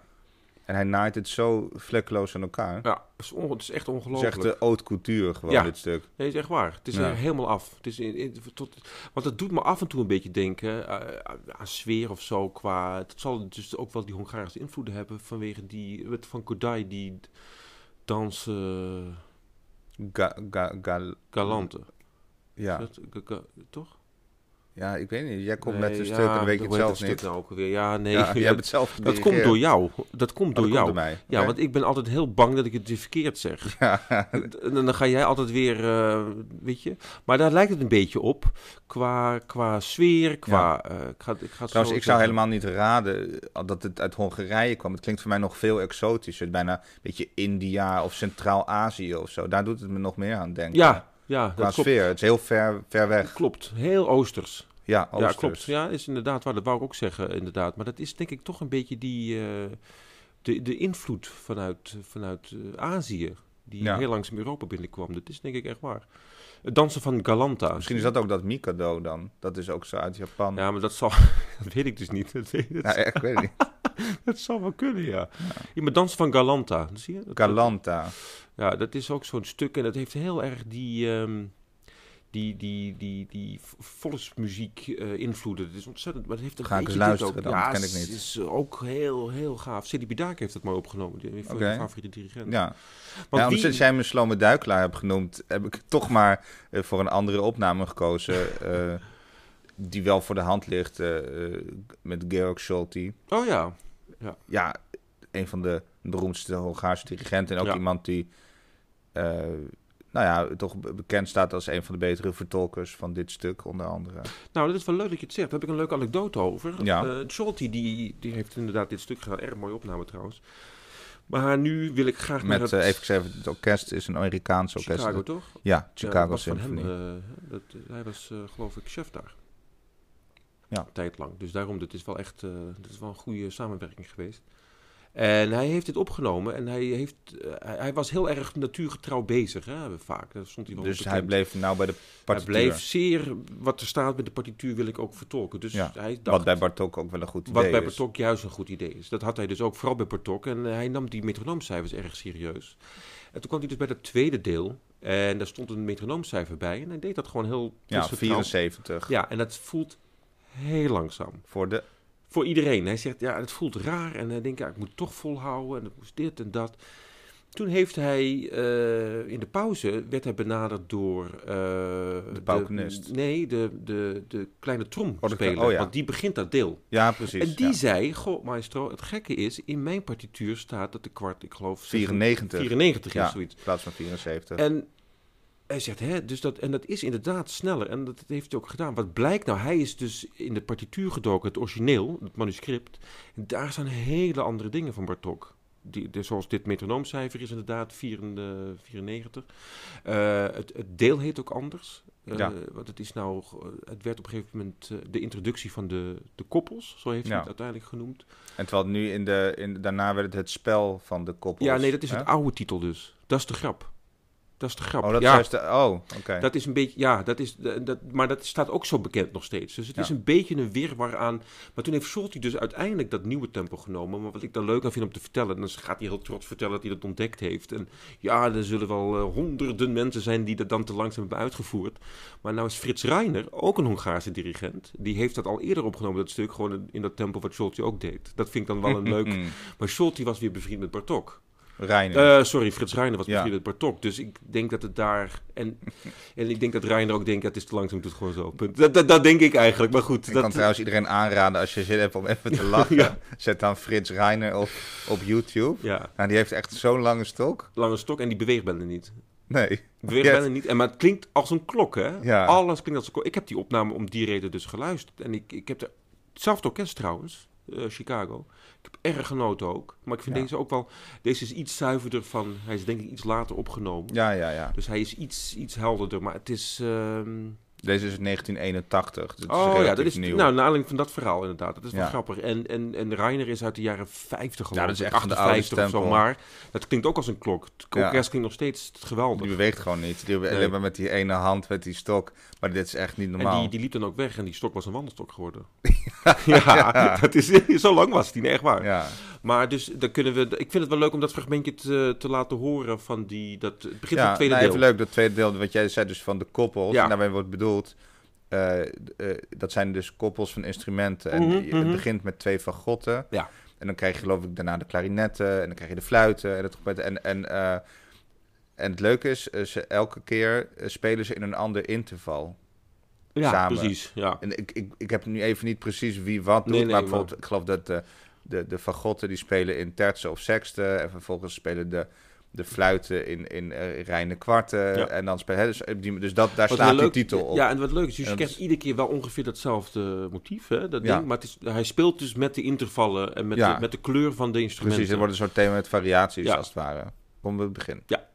Speaker 1: En hij naait het zo vlekkeloos aan elkaar.
Speaker 2: Ja, het is, onge- het is echt
Speaker 1: Het is echt
Speaker 2: ongelooflijk.
Speaker 1: de haute couture gewoon,
Speaker 2: Ja.
Speaker 1: dit stuk.
Speaker 2: Nee, het is echt waar. Het is
Speaker 1: Ja.
Speaker 2: er helemaal af. Het is in, in- tot, want het doet me af en toe een beetje denken eh, aan sfeer of zo. Qua, het zal dus ook wel die Hongaarse invloeden hebben vanwege die, met van Kodai, die dansen
Speaker 1: Ga, ga, ga-
Speaker 2: galante.
Speaker 1: ja.
Speaker 2: Is dat- ga- ga- toch?
Speaker 1: ja, ik weet niet. Jij komt
Speaker 2: Nee,
Speaker 1: met een
Speaker 2: ja,
Speaker 1: stuk en dan weet je
Speaker 2: hoe
Speaker 1: het
Speaker 2: heet
Speaker 1: zelf
Speaker 2: dat stuk
Speaker 1: niet.
Speaker 2: Nou ook weer. Ja, nee.
Speaker 1: ja, jij
Speaker 2: dat-
Speaker 1: hebt het zelf
Speaker 2: [laughs] dat komt door jou. Dat komt
Speaker 1: Oh,
Speaker 2: door jou.
Speaker 1: mij.
Speaker 2: Ja, want ik ben altijd heel bang dat ik het verkeerd zeg.
Speaker 1: [laughs]
Speaker 2: En dan ga jij altijd weer, eh, weet je. Maar daar lijkt het een beetje op. Qua, qua sfeer, qua... eh, ik ga, ik ga het
Speaker 1: Trouwens,
Speaker 2: zo
Speaker 1: ik zou
Speaker 2: zeggen.
Speaker 1: helemaal niet raden eh, dat het uit Hongarije kwam. Het klinkt voor mij nog veel exotischer. Bijna een beetje India of Centraal-Azië of zo. Daar doet het me nog meer aan denken.
Speaker 2: Ja, ja
Speaker 1: Qua
Speaker 2: dat klopt.
Speaker 1: sfeer. Het is heel ver, ver weg.
Speaker 2: Klopt, heel oosters.
Speaker 1: Ja,
Speaker 2: Ja, klopt. Ja, is inderdaad waar. Dat wou ik ook zeggen, inderdaad. Maar dat is denk ik toch een beetje die... eh, de, de invloed vanuit, vanuit eh, Azië. Die
Speaker 1: Ja.
Speaker 2: heel langzaam Europa binnenkwam. Dat is denk ik echt waar. Het dansen van Galanta.
Speaker 1: Misschien is dat ook dat Mikado dan. Dat is ook zo uit Japan.
Speaker 2: Ja, maar dat zal... [laughs] Dat weet ik dus niet. Dat, weet- dat,
Speaker 1: Nou, echt, ik weet het
Speaker 2: [laughs]
Speaker 1: niet.
Speaker 2: dat zal wel kunnen, ja. Ja, maar dansen van Galanta. Zie je? Dat-
Speaker 1: Galanta.
Speaker 2: Ja, dat is ook zo'n stuk. En dat heeft heel erg die... ehm, die, die, die, die v- volksmuziek eh, invloeden. Het is ontzettend. Maar het heeft een
Speaker 1: Ga ik
Speaker 2: beetje
Speaker 1: eens
Speaker 2: dit
Speaker 1: luisteren
Speaker 2: ook.
Speaker 1: dan, dat ken ik
Speaker 2: het
Speaker 1: niet.
Speaker 2: is ook heel, heel gaaf. Cedi Bidaak heeft dat mooi opgenomen. Die- Een van
Speaker 1: Oké.
Speaker 2: mijn favoriete dirigenten.
Speaker 1: Ja.
Speaker 2: Want
Speaker 1: ja,
Speaker 2: wie-
Speaker 1: Sinds jij me Slome Duikelaar hebt genoemd, heb ik toch maar eh, voor een andere opname
Speaker 2: [laughs]
Speaker 1: gekozen. eh, die wel voor de hand ligt eh, eh, met Georg Scholti.
Speaker 2: Oh ja.
Speaker 1: Ja, een van de beroemdste Hongaarse dirigenten. En ook
Speaker 2: Ja.
Speaker 1: iemand die, eh, nou ja, toch be- bekend staat als een van de betere vertolkers van dit stuk, onder andere.
Speaker 2: Nou, dat is wel leuk dat je het zegt. Daar heb ik een leuke anekdote over.
Speaker 1: Ja.
Speaker 2: Eh, Scholti, die, die heeft inderdaad dit stuk gedaan. Erg mooie opname trouwens. Maar nu wil ik graag naar
Speaker 1: Met,
Speaker 2: het
Speaker 1: eh even gezegd, het orkest is een Amerikaans orkest.
Speaker 2: Chicago, toch?
Speaker 1: Ja,
Speaker 2: Ja,
Speaker 1: Chicago
Speaker 2: dat was van hem,
Speaker 1: Symphony.
Speaker 2: eh, dat, hij was, eh, geloof ik, chef daar.
Speaker 1: Ja.
Speaker 2: Tijd lang. Dus daarom, dit is wel echt eh, dit is wel een goede samenwerking geweest. En hij heeft dit opgenomen en hij, heeft, eh, hij, hij was heel erg natuurgetrouw bezig, hè, vaak. Daar stond hij wel
Speaker 1: Dus
Speaker 2: op
Speaker 1: hij
Speaker 2: bekend.
Speaker 1: bleef nou bij de
Speaker 2: hij
Speaker 1: partituur.
Speaker 2: bleef zeer, wat er staat met de partituur wil ik ook vertolken. Dus
Speaker 1: Ja,
Speaker 2: hij dacht,
Speaker 1: wat bij Bartok ook wel een goed idee
Speaker 2: wat bij
Speaker 1: is.
Speaker 2: Pertok juist een goed idee is. Dat had hij dus ook, vooral bij Pertok. En eh, hij nam die metronoomcijfers erg serieus. En toen kwam hij dus bij dat tweede deel. En daar stond een metronoomcijfer bij. En hij deed dat gewoon heel...
Speaker 1: Ja,
Speaker 2: concentraal.
Speaker 1: 74
Speaker 2: Ja, en dat voelt heel langzaam.
Speaker 1: voor de
Speaker 2: Voor iedereen. Hij zegt, ja, het voelt raar. En hij denkt, ja, ik moet toch volhouden. En dat moest dit en dat. Toen heeft hij, eh, in de pauze, werd hij benaderd door... eh, de
Speaker 1: paukenist.
Speaker 2: nee, de, de, de kleine
Speaker 1: Oh, de
Speaker 2: tromspeler.
Speaker 1: kle- oh ja.
Speaker 2: Want die begint dat deel.
Speaker 1: Ja, precies.
Speaker 2: En die
Speaker 1: ja.
Speaker 2: zei, goh maestro, het gekke is, in mijn partituur staat dat de kwart, ik geloof...
Speaker 1: 94
Speaker 2: 94 is
Speaker 1: Ja.
Speaker 2: zoiets.
Speaker 1: in plaats van 74.
Speaker 2: En hij zegt, hè, dus dat, en dat is inderdaad sneller. En dat heeft hij ook gedaan. Wat blijkt nou, hij is dus in de partituur gedoken, het origineel, het manuscript. En daar staan hele andere dingen van Bartok. Die, de- zoals dit metronoomcijfer is inderdaad 94. 94. Eh, het, het deel heet ook anders. Eh,
Speaker 1: Ja.
Speaker 2: Want het, is nou, ge- het werd op een gegeven moment eh, de introductie van de, de koppels, zo heeft hij
Speaker 1: Ja.
Speaker 2: het uiteindelijk genoemd.
Speaker 1: En terwijl het nu in de, in, daarna werd het het spel van de koppels.
Speaker 2: Ja, nee, dat is
Speaker 1: hè?
Speaker 2: het oude titel dus. Dat is de grap. Dat is de grap.
Speaker 1: Oh, dat
Speaker 2: ja,
Speaker 1: is juist de, oh, oké.
Speaker 2: dat is een beetje, ja, dat is, dat, dat- maar dat staat ook zo bekend nog steeds. Dus het
Speaker 1: Ja.
Speaker 2: is een beetje een wirwar aan. Maar toen heeft Scholti dus uiteindelijk dat nieuwe tempo genomen. Maar wat ik dan leuk aan vind om te vertellen, dan gaat hij heel trots vertellen dat hij dat ontdekt heeft. En ja, er zullen wel eh, honderden mensen zijn die dat dan te langzaam hebben uitgevoerd. Maar nou is Frits Reiner, ook een Hongaarse dirigent, die heeft dat al eerder opgenomen, dat stuk,
Speaker 1: [laughs]
Speaker 2: gewoon in, in dat tempo wat Scholti ook deed. Dat vind ik dan wel een leuk.
Speaker 1: Mm.
Speaker 2: Maar Scholti was weer bevriend met Bartok.
Speaker 1: Reiner.
Speaker 2: Eh, sorry, Frits Reiner was
Speaker 1: Ja.
Speaker 2: misschien het Bartok. Dus ik denk dat het daar... En, en ik denk dat Reiner ook denkt, ja, het is te langzaam, doet het gewoon zo. Punt. Dat, dat, dat denk ik eigenlijk, maar goed.
Speaker 1: ik
Speaker 2: dat,
Speaker 1: kan trouwens iedereen aanraden als je zin hebt om even te lachen.
Speaker 2: Ja. [laughs]
Speaker 1: Zet dan Frits Reiner op, op YouTube.
Speaker 2: Ja,
Speaker 1: Nou, die heeft echt zo'n lange stok.
Speaker 2: lange stok en die beweegbellen niet.
Speaker 1: Nee.
Speaker 2: Beweegbellen niet. En, maar het klinkt als een klok, hè?
Speaker 1: Ja.
Speaker 2: Alles klinkt als een klok. Ik heb die opname om die reden dus geluisterd. En ik, ik heb de, hetzelfde orkest trouwens, eh, Chicago. Ik heb erg genoten ook. Maar ik vind
Speaker 1: Ja.
Speaker 2: deze ook wel... Deze is iets zuiverder van... Hij is denk ik iets later opgenomen.
Speaker 1: Ja, ja, ja.
Speaker 2: Dus hij is iets, iets helderder. Maar het is... ehm,
Speaker 1: Deze is uit 1981. Dus het is
Speaker 2: oh ja, dat
Speaker 1: relatief
Speaker 2: is
Speaker 1: nieuw.
Speaker 2: nou naar aanleiding van dat verhaal inderdaad. Dat is wel
Speaker 1: Ja.
Speaker 2: grappig. En, en, en Reiner is uit de jaren 50 geloof
Speaker 1: Ja, dat is
Speaker 2: ik,
Speaker 1: echt van de oude
Speaker 2: 58 of zo.
Speaker 1: stempel.
Speaker 2: Maar dat klinkt ook als een klok. Het
Speaker 1: Ja.
Speaker 2: orkest klinkt nog steeds geweldig.
Speaker 1: Die beweegt gewoon niet. Die
Speaker 2: Nee.
Speaker 1: alleen maar met die ene hand, met die stok. Maar dit is echt niet
Speaker 2: en
Speaker 1: normaal.
Speaker 2: die, die liep dan ook weg en die stok was een wandelstok
Speaker 1: [laughs]
Speaker 2: geworden. ja, Dat is, [laughs] zo lang was die, nee, echt waar.
Speaker 1: Ja.
Speaker 2: Maar dus, dan kunnen we, ik vind het wel leuk om dat fragmentje te, te laten horen van die, dat, het begin van
Speaker 1: ja,
Speaker 2: het tweede
Speaker 1: nou,
Speaker 2: deel.
Speaker 1: even leuk, dat tweede deel, wat jij zei dus van de koppels.
Speaker 2: Ja.
Speaker 1: En daarmee wordt bedoeld, eh, eh, dat zijn dus koppels van instrumenten. En
Speaker 2: Mhm,
Speaker 1: je- het
Speaker 2: mhm.
Speaker 1: begint met twee fagotten.
Speaker 2: Ja.
Speaker 1: En dan krijg je geloof ik daarna de klarinetten en dan krijg je de fluiten en het trompet. En, en, eh, en het leuke is, eh, ze, elke keer eh, spelen ze in een ander interval.
Speaker 2: ja,
Speaker 1: samen.
Speaker 2: precies. Ja.
Speaker 1: En ik, ik, ik heb nu even niet precies wie wat doet,
Speaker 2: Nee, nee,
Speaker 1: maar bijvoorbeeld, ik geloof dat de, de, de fagotten die spelen in tertsen of sexten. En vervolgens spelen de, de fluiten in, in eh, reine kwarten.
Speaker 2: Ja.
Speaker 1: En dan spelen, hè, dus, eh, die, dus dat, daar
Speaker 2: Wat
Speaker 1: staat
Speaker 2: wel
Speaker 1: die
Speaker 2: leuk-
Speaker 1: titel op.
Speaker 2: Ja, en wat leuk is, dus
Speaker 1: En
Speaker 2: je
Speaker 1: dat
Speaker 2: krijgt
Speaker 1: is-
Speaker 2: iedere keer wel ongeveer datzelfde motief, hè, dat
Speaker 1: Ja.
Speaker 2: ding. Maar het is, hij speelt dus met de intervallen en met,
Speaker 1: Ja.
Speaker 2: de, met de kleur van de instrumenten.
Speaker 1: Precies, er wordt een soort thema met variaties
Speaker 2: Ja.
Speaker 1: als het ware. Kom we beginnen.
Speaker 2: Ja.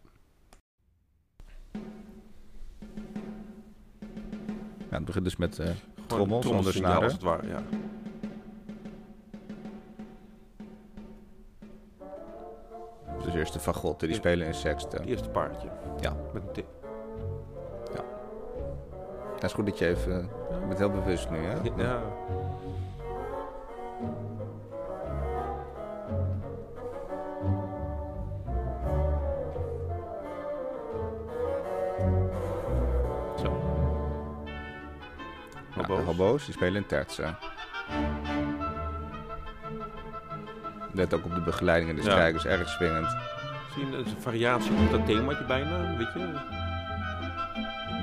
Speaker 1: Ja, het begint dus met... eh,
Speaker 2: Gewoon
Speaker 1: trommel
Speaker 2: trommelsignaal,
Speaker 1: zonder snaar, hè?
Speaker 2: als het ware, ja.
Speaker 1: dus eerst de fagotten, die spelen in sexten.
Speaker 2: Het eerste paardje.
Speaker 1: Ja.
Speaker 2: Met een tip.
Speaker 1: Dat is goed dat je even... eh, Je bent heel bewust nu, hè?
Speaker 2: Ja. Zo.
Speaker 1: Ja,
Speaker 2: Hobo's.
Speaker 1: de hobo's, die spelen in tertsen. Let ook op de begeleiding en de
Speaker 2: Ja.
Speaker 1: strijkers, erg swingend.
Speaker 2: Zie je, dat is een variatie op dat themaatje bijna, eh, weet je?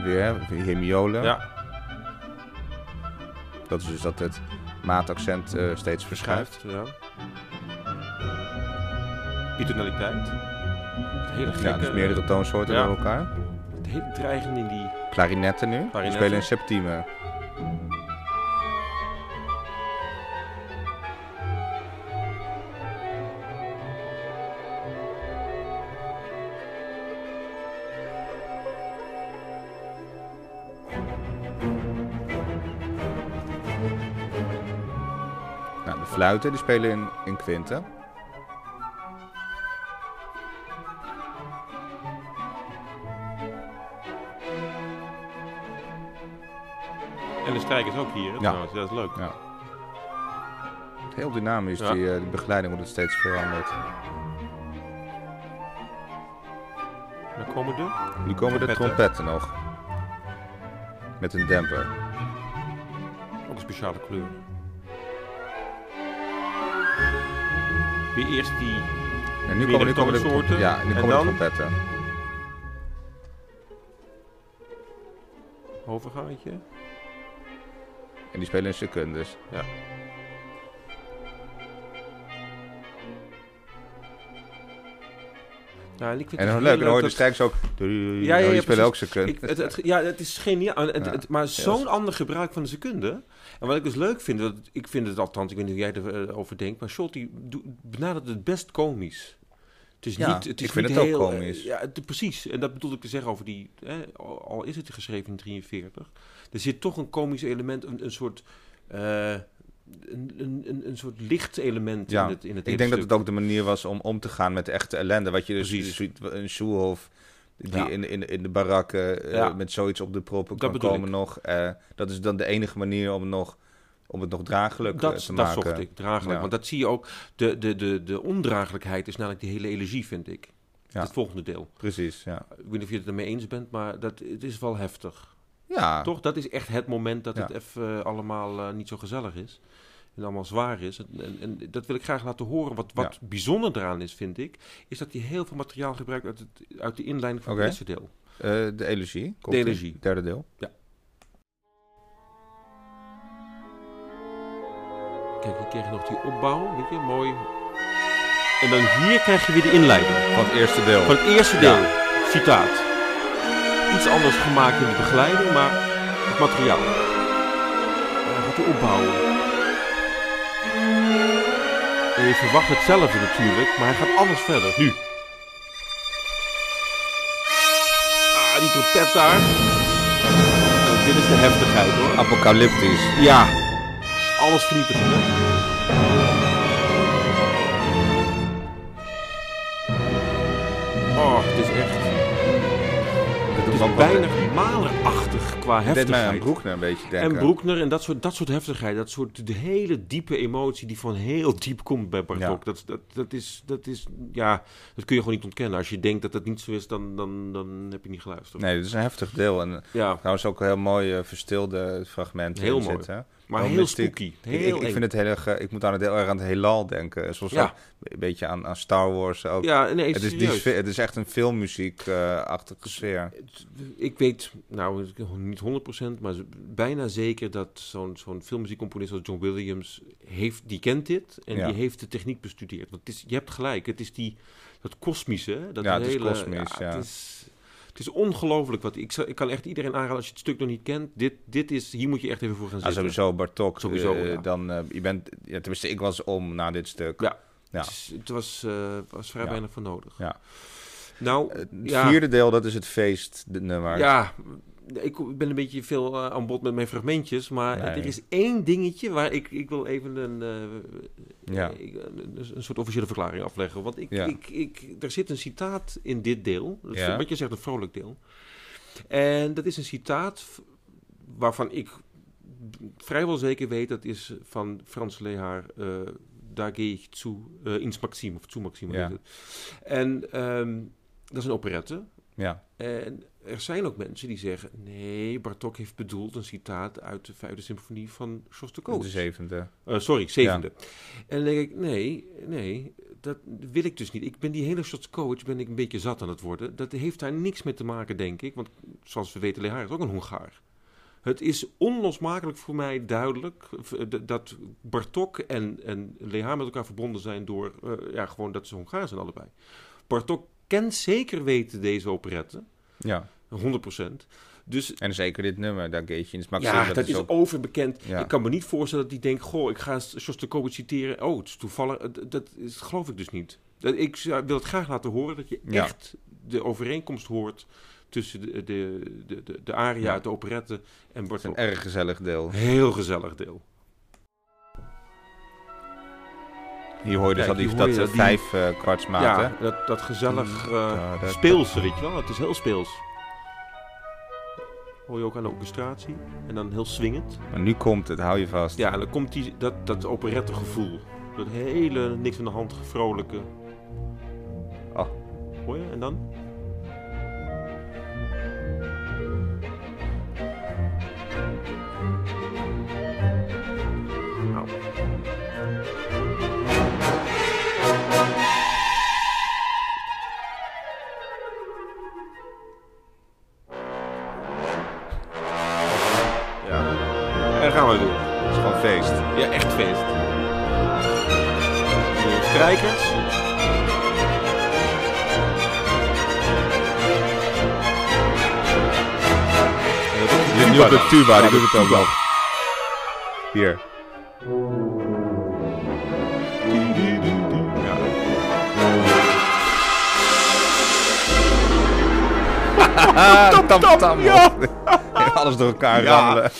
Speaker 1: Weer, weer hier miolen.
Speaker 2: Ja,
Speaker 1: Dat is dus dat het maataccent eh, steeds verschuift.
Speaker 2: verschuift, ja. Pitonaliteit. Het hele gekke,
Speaker 1: Ja, dus meerdere toonsoorten
Speaker 2: Ja.
Speaker 1: door elkaar.
Speaker 2: Het hele dreigende in die...
Speaker 1: Klarinetten nu, die
Speaker 2: Klarinetten.
Speaker 1: spelen eh. in septiemen. Nou, de fluiten die spelen in, in kwinten.
Speaker 2: En de strijkers ook hier, hè, trouwens. Dat is leuk.
Speaker 1: Ja. Heel dynamisch,
Speaker 2: Ja.
Speaker 1: die, eh, die begeleiding wordt steeds veranderd.
Speaker 2: Dan komen de...
Speaker 1: Nu komen de
Speaker 2: Trompetten.
Speaker 1: trompetten nog. Met een demper.
Speaker 2: Ook een speciale kleur. Weer eerst die...
Speaker 1: En nu
Speaker 2: Meerdere
Speaker 1: komen, nu komen de,
Speaker 2: toonsoorten.
Speaker 1: ja, en nu
Speaker 2: En
Speaker 1: komen de
Speaker 2: dan?
Speaker 1: trompetten.
Speaker 2: Overgangetje.
Speaker 1: En die spelen in secundes.
Speaker 2: Ja. Ja, en ik vind
Speaker 1: En
Speaker 2: het
Speaker 1: dan
Speaker 2: heel
Speaker 1: leuk, dan hoor je de
Speaker 2: dat-
Speaker 1: strijkers ook. Ja,
Speaker 2: ja, ja,
Speaker 1: die spelen
Speaker 2: precies.
Speaker 1: ook secundes.
Speaker 2: Ik, het, het- ja, het is geniaal. En Het,
Speaker 1: Ja.
Speaker 2: het- maar zo'n
Speaker 1: dat is-
Speaker 2: ander gebruik van de seconde. En wat ik dus leuk vind, dat, ik vind het althans, ik weet niet hoe jij erover denkt, maar Scholt die doet- benadert het best komisch. Het is
Speaker 1: Ja,
Speaker 2: niet, het is
Speaker 1: ik vind
Speaker 2: niet
Speaker 1: het ook
Speaker 2: heel, eh,
Speaker 1: komisch.
Speaker 2: Ja, het- precies. En dat bedoel ik te zeggen over die, hè, al al is het geschreven in 43, er zit toch een komisch element, een, een soort... eh, een, een, een, een soort licht element
Speaker 1: Ja,
Speaker 2: in het in het
Speaker 1: Ik
Speaker 2: hele
Speaker 1: denk dat
Speaker 2: stuk.
Speaker 1: het ook de manier was om om te gaan met de echte ellende. Wat je dus
Speaker 2: Precies.
Speaker 1: ziet, een Sjoelhof die
Speaker 2: Ja.
Speaker 1: in, in, in de barakken eh,
Speaker 2: Ja.
Speaker 1: met zoiets op de proppen
Speaker 2: Dat
Speaker 1: kan
Speaker 2: bedoel
Speaker 1: komen
Speaker 2: ik.
Speaker 1: nog. Eh, dat is dan de enige manier om, nog, om het nog draaglijk eh,
Speaker 2: dat,
Speaker 1: te
Speaker 2: dat
Speaker 1: maken.
Speaker 2: zocht ik, draaglijk.
Speaker 1: Ja.
Speaker 2: Want dat zie je ook. De, de, de, de ondraaglijkheid is namelijk die hele energie, vind ik.
Speaker 1: Ja.
Speaker 2: Het volgende deel.
Speaker 1: Precies, ja.
Speaker 2: Ik weet niet of je het ermee eens bent, maar dat, het is wel heftig.
Speaker 1: Ja,
Speaker 2: Toch? Dat is echt het moment dat
Speaker 1: Ja.
Speaker 2: het even eh, allemaal eh, niet zo gezellig is. en allemaal zwaar is. En, en, en dat wil ik graag laten horen. Wat, wat bijzonder eraan is, vind ik, is dat hij heel veel materiaal gebruikt uit, het, uit de inleiding van
Speaker 1: Oké.
Speaker 2: het eerste deel.
Speaker 1: Eh, de Elegie. komt
Speaker 2: De
Speaker 1: in,
Speaker 2: Elegie.
Speaker 1: Derde deel.
Speaker 2: Kijk, hier krijg je nog die opbouw, weet je, mooi. En dan hier krijg je weer de inleiding
Speaker 1: Van het eerste deel.
Speaker 2: van het eerste deel. Citaat. Iets anders gemaakt in de begeleiding, maar het materiaal. Hij gaat de opbouwen. En je verwacht hetzelfde natuurlijk, maar hij gaat anders verder. Nu. Ah, die trompet daar. Nou, dit is de heftigheid hoor.
Speaker 1: Apocalyptisch.
Speaker 2: Ja, alles vernietigend. hè? Oh, het is echt. Het is bijna malerachtig qua
Speaker 1: Dit mij aan
Speaker 2: heftigheid.
Speaker 1: Broekner een beetje denken.
Speaker 2: En Broekner en dat soort, dat soort heftigheid. Dat soort de hele diepe emotie die van heel diep komt bij Bartok.
Speaker 1: Ja.
Speaker 2: Dat, dat, dat, is, dat is, ja, dat kun je gewoon niet ontkennen. Als je denkt dat dat niet zo is, dan, dan, dan heb je niet geluisterd.
Speaker 1: Nee, dit is een heftig deel. En eh,
Speaker 2: Ja,
Speaker 1: trouwens ook een heel mooi eh, verstilde fragmenten
Speaker 2: Heel
Speaker 1: in
Speaker 2: mooi.
Speaker 1: zitten.
Speaker 2: maar
Speaker 1: Wel
Speaker 2: heel
Speaker 1: mystiek.
Speaker 2: spooky.
Speaker 1: Ik-
Speaker 2: Heel
Speaker 1: ik, ik
Speaker 2: eng.
Speaker 1: vind het heel erg, eh, ik moet aan het heel erg aan het heelal denken. Zoals
Speaker 2: Ja.
Speaker 1: ook een beetje aan, aan Star Wars ook.
Speaker 2: ja, nee,
Speaker 1: Nou, het, is die
Speaker 2: serieus.
Speaker 1: sfeer- het is echt een filmmuziek-achtige sfeer.
Speaker 2: Het- Ik weet, nou niet 100%, maar z- bijna zeker dat zo'n zo'n filmmuziekcomponist als John Williams, heeft, die kent dit en
Speaker 1: Ja.
Speaker 2: die heeft de techniek bestudeerd. Want het is, je hebt gelijk, het is die, dat kosmische. hè, Dat
Speaker 1: Ja, het is
Speaker 2: hele-
Speaker 1: kosmisch, ja.
Speaker 2: Het is, het is ongelooflijk. Wat, ik, zou- ik kan echt iedereen aanraden als je het stuk nog niet kent. Dit, dit is, hier moet je echt even voor gaan
Speaker 1: Ah,
Speaker 2: zitten.
Speaker 1: sowieso Bartok.
Speaker 2: Sowieso,
Speaker 1: eh,
Speaker 2: ja.
Speaker 1: dan, eh, je bent, ja, tenminste, ik was om na dit stuk.
Speaker 2: Ja.
Speaker 1: ja.
Speaker 2: Het, is- het was, eh, was vrij
Speaker 1: Ja.
Speaker 2: weinig voor nodig.
Speaker 1: Ja. Eh,
Speaker 2: Nou,
Speaker 1: Het
Speaker 2: ja.
Speaker 1: vierde deel, dat is het feestnummer.
Speaker 2: Ja, ik ben een beetje veel eh, aan bod met mijn fragmentjes, maar
Speaker 1: Nee.
Speaker 2: er is één dingetje waar ik, ik wil even een, eh,
Speaker 1: Ja.
Speaker 2: ik- een, een soort officiële verklaring afleggen. Want ik,
Speaker 1: Ja.
Speaker 2: ik, ik, er zit een citaat in dit deel, dat is
Speaker 1: Ja.
Speaker 2: wat je zegt, een vrolijk deel. En dat is een citaat v- waarvan ik vrijwel zeker weet, dat is van Frans Lehaar, eh Daar gehe ich zu, eh, ins Maxim, of zu Maxim.
Speaker 1: Ja.
Speaker 2: heet het. En ehm, dat is een operette.
Speaker 1: Ja.
Speaker 2: En er zijn ook mensen die zeggen: nee, Bartok heeft bedoeld een citaat uit de vijfde symfonie van
Speaker 1: De
Speaker 2: Shostakovich.
Speaker 1: zevende.
Speaker 2: Eh, sorry, zevende. En dan denk ik: nee, nee, dat wil ik dus niet. Ik ben die hele Shostakovich ben ik een beetje zat aan het worden. Dat heeft daar niks mee te maken, denk ik. Want zoals we weten, Lehar is ook een Hongaar. Het is onlosmakelijk voor mij duidelijk eh, v- d- dat Bartok en, en Lehar met elkaar verbonden zijn door eh, ja, gewoon dat ze Hongaar zijn allebei. Bartok kent zeker weten deze operette.
Speaker 1: Ja.
Speaker 2: 100%. Dus
Speaker 1: En zeker dit nummer, daar geet je in. Maxim,
Speaker 2: ja, dat, is,
Speaker 1: ook...
Speaker 2: overbekend.
Speaker 1: Ja.
Speaker 2: Ik kan me niet voorstellen dat die denkt: Goh, ik ga Shostakovich citeren. Oh, het is toevallig. Eh, d- Dat is, geloof ik dus niet. Dat, ik zou- wil het graag laten horen dat je
Speaker 1: Ja.
Speaker 2: echt de overeenkomst hoort tussen de, de, de, de, de aria
Speaker 1: Ja.
Speaker 2: uit de operette en
Speaker 1: Het is een
Speaker 2: Bartok.
Speaker 1: erg gezellig deel.
Speaker 2: Heel gezellig deel.
Speaker 1: Hier hoor je dus
Speaker 2: Kijk,
Speaker 1: al die,
Speaker 2: hier
Speaker 1: dat
Speaker 2: hoor je
Speaker 1: eh,
Speaker 2: die-
Speaker 1: vijf eh, kwartsmaten.
Speaker 2: Ja, dat, dat gezellig eh,
Speaker 1: Da, da, da.
Speaker 2: speelse, weet je wel. Het is heel speels. Hoor je ook aan de orchestratie. En dan heel swingend.
Speaker 1: Maar nu komt het, hou je vast.
Speaker 2: Ja, en dan komt die, dat, dat operette gevoel. Dat hele niks aan de hand vrolijke.
Speaker 1: Oh.
Speaker 2: Hoor je? En dan? Nou. Ja. En dan gaan we weer.
Speaker 1: Het is gewoon feest.
Speaker 2: Ja, echt feest. De strijkers.
Speaker 1: Je nu op de tuba, die doet het ook nog. Hier. [laughs] Tam tam,
Speaker 2: ja.
Speaker 1: Alles door elkaar
Speaker 2: Ja.
Speaker 1: rammelen. [laughs]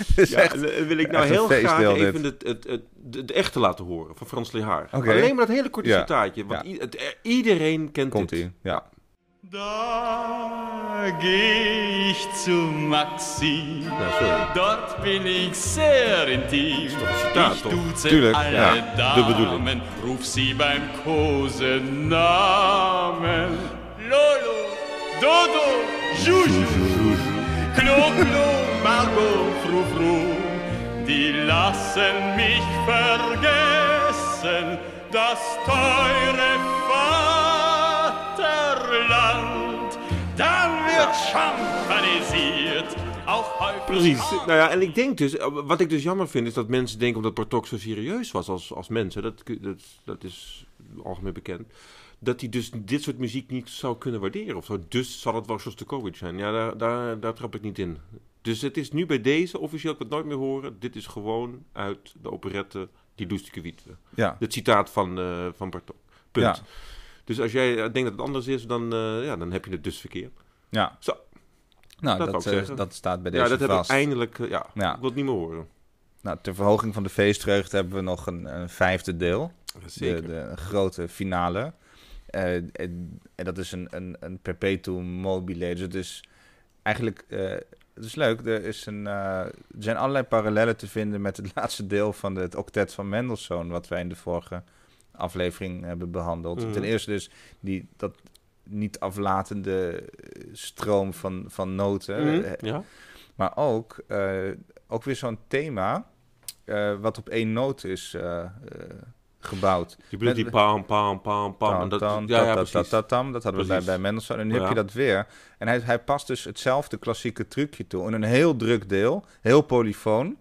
Speaker 1: Het is
Speaker 2: Ja,
Speaker 1: echt-
Speaker 2: en, eh, wil ik nou
Speaker 1: echt een
Speaker 2: heel graag
Speaker 1: feestdeel,
Speaker 2: even het, het, het, de, de echte laten horen van Frans Lehaar.
Speaker 1: Oké.
Speaker 2: Alleen maar dat hele korte
Speaker 1: Ja.
Speaker 2: citaatje, want
Speaker 1: Ja.
Speaker 2: i- het- eh, iedereen kent
Speaker 1: Komt
Speaker 2: dit.
Speaker 1: ie. Ja.
Speaker 3: Da geh ich zu Maxi.
Speaker 2: Nou, sorry.
Speaker 3: Dort bin ich sehr intim.
Speaker 2: doch ein Zitat,
Speaker 3: ich
Speaker 2: doch.
Speaker 3: duze
Speaker 1: Natürlich,
Speaker 3: alle
Speaker 1: ja,
Speaker 2: die Bedoelung.
Speaker 3: Damen, ruf sie beim Kosenamen. Lolo, Dodo, Juju, Klo, Klo, Margot, Fru, Fru. die lassen mich vergessen das teure Vaterland. Dann wird champanisiert, auch häufig
Speaker 2: Precies.
Speaker 1: Oh.
Speaker 2: Nou ja, en ik denk dus, eh, wat ik dus jammer vind, is dat mensen denken omdat Bartok zo serieus was als, als mens, hè, dat, kun- dat, dat is algemeen bekend, dat hij dus dit soort muziek niet zou kunnen waarderen of zo. Dus zal het wel Shostakovich zijn. Ja, daar, daar, daar trap ik niet in. Dus het is nu bij deze, officieel, ik wil het nooit meer horen, dit is gewoon uit de operette Die Loestieke Wietwe.
Speaker 1: Ja,
Speaker 2: Het citaat van, eh, van Bartok. Punt.
Speaker 1: Ja.
Speaker 2: Dus als jij eh, denkt dat het anders is, dan, eh, ja, dan heb je het dus verkeerd.
Speaker 1: ja.
Speaker 2: Zo.
Speaker 1: Nou,
Speaker 2: Dat
Speaker 1: dat,
Speaker 2: wou ik
Speaker 1: eh,
Speaker 2: zeggen.
Speaker 1: dat staat bij deze
Speaker 2: Ja, dat heb ik
Speaker 1: vast.
Speaker 2: eindelijk, eh, ja,
Speaker 1: Ja.
Speaker 2: ik wil het niet meer horen.
Speaker 1: Nou, ter verhoging van de feestvreugde hebben we nog een, een vijfde deel. De, de grote finale. Eh, en, en dat is een, een, een perpetuum mobile. Dus het is eigenlijk... eh, het is leuk. Er, is een, eh, er zijn allerlei parallellen te vinden met het [laughs] laatste deel van het octet van Mendelssohn... wat wij in de vorige aflevering hebben behandeld.
Speaker 2: Mhm.
Speaker 1: Ten eerste dus die, dat niet aflatende eh, stroom van, van noten. Eh,
Speaker 2: ja.
Speaker 1: Maar ook, eh, ook weer zo'n thema eh, wat op één noot is eh, eh, gebouwd.
Speaker 2: Je bedoelt die
Speaker 1: Met-
Speaker 2: pam, pam, pam, pam. en
Speaker 1: Tam,
Speaker 2: Dat,
Speaker 1: tam,
Speaker 2: ja,
Speaker 1: ta,
Speaker 2: ja,
Speaker 1: ta, ta,
Speaker 2: precies.
Speaker 1: ta, tam. Dat hadden we bij,
Speaker 2: Precies.
Speaker 1: bij Mendelssohn. En nu
Speaker 2: Ja.
Speaker 1: heb je dat weer. En hij, hij past dus hetzelfde klassieke trucje toe. In een heel druk deel, heel polyfoon.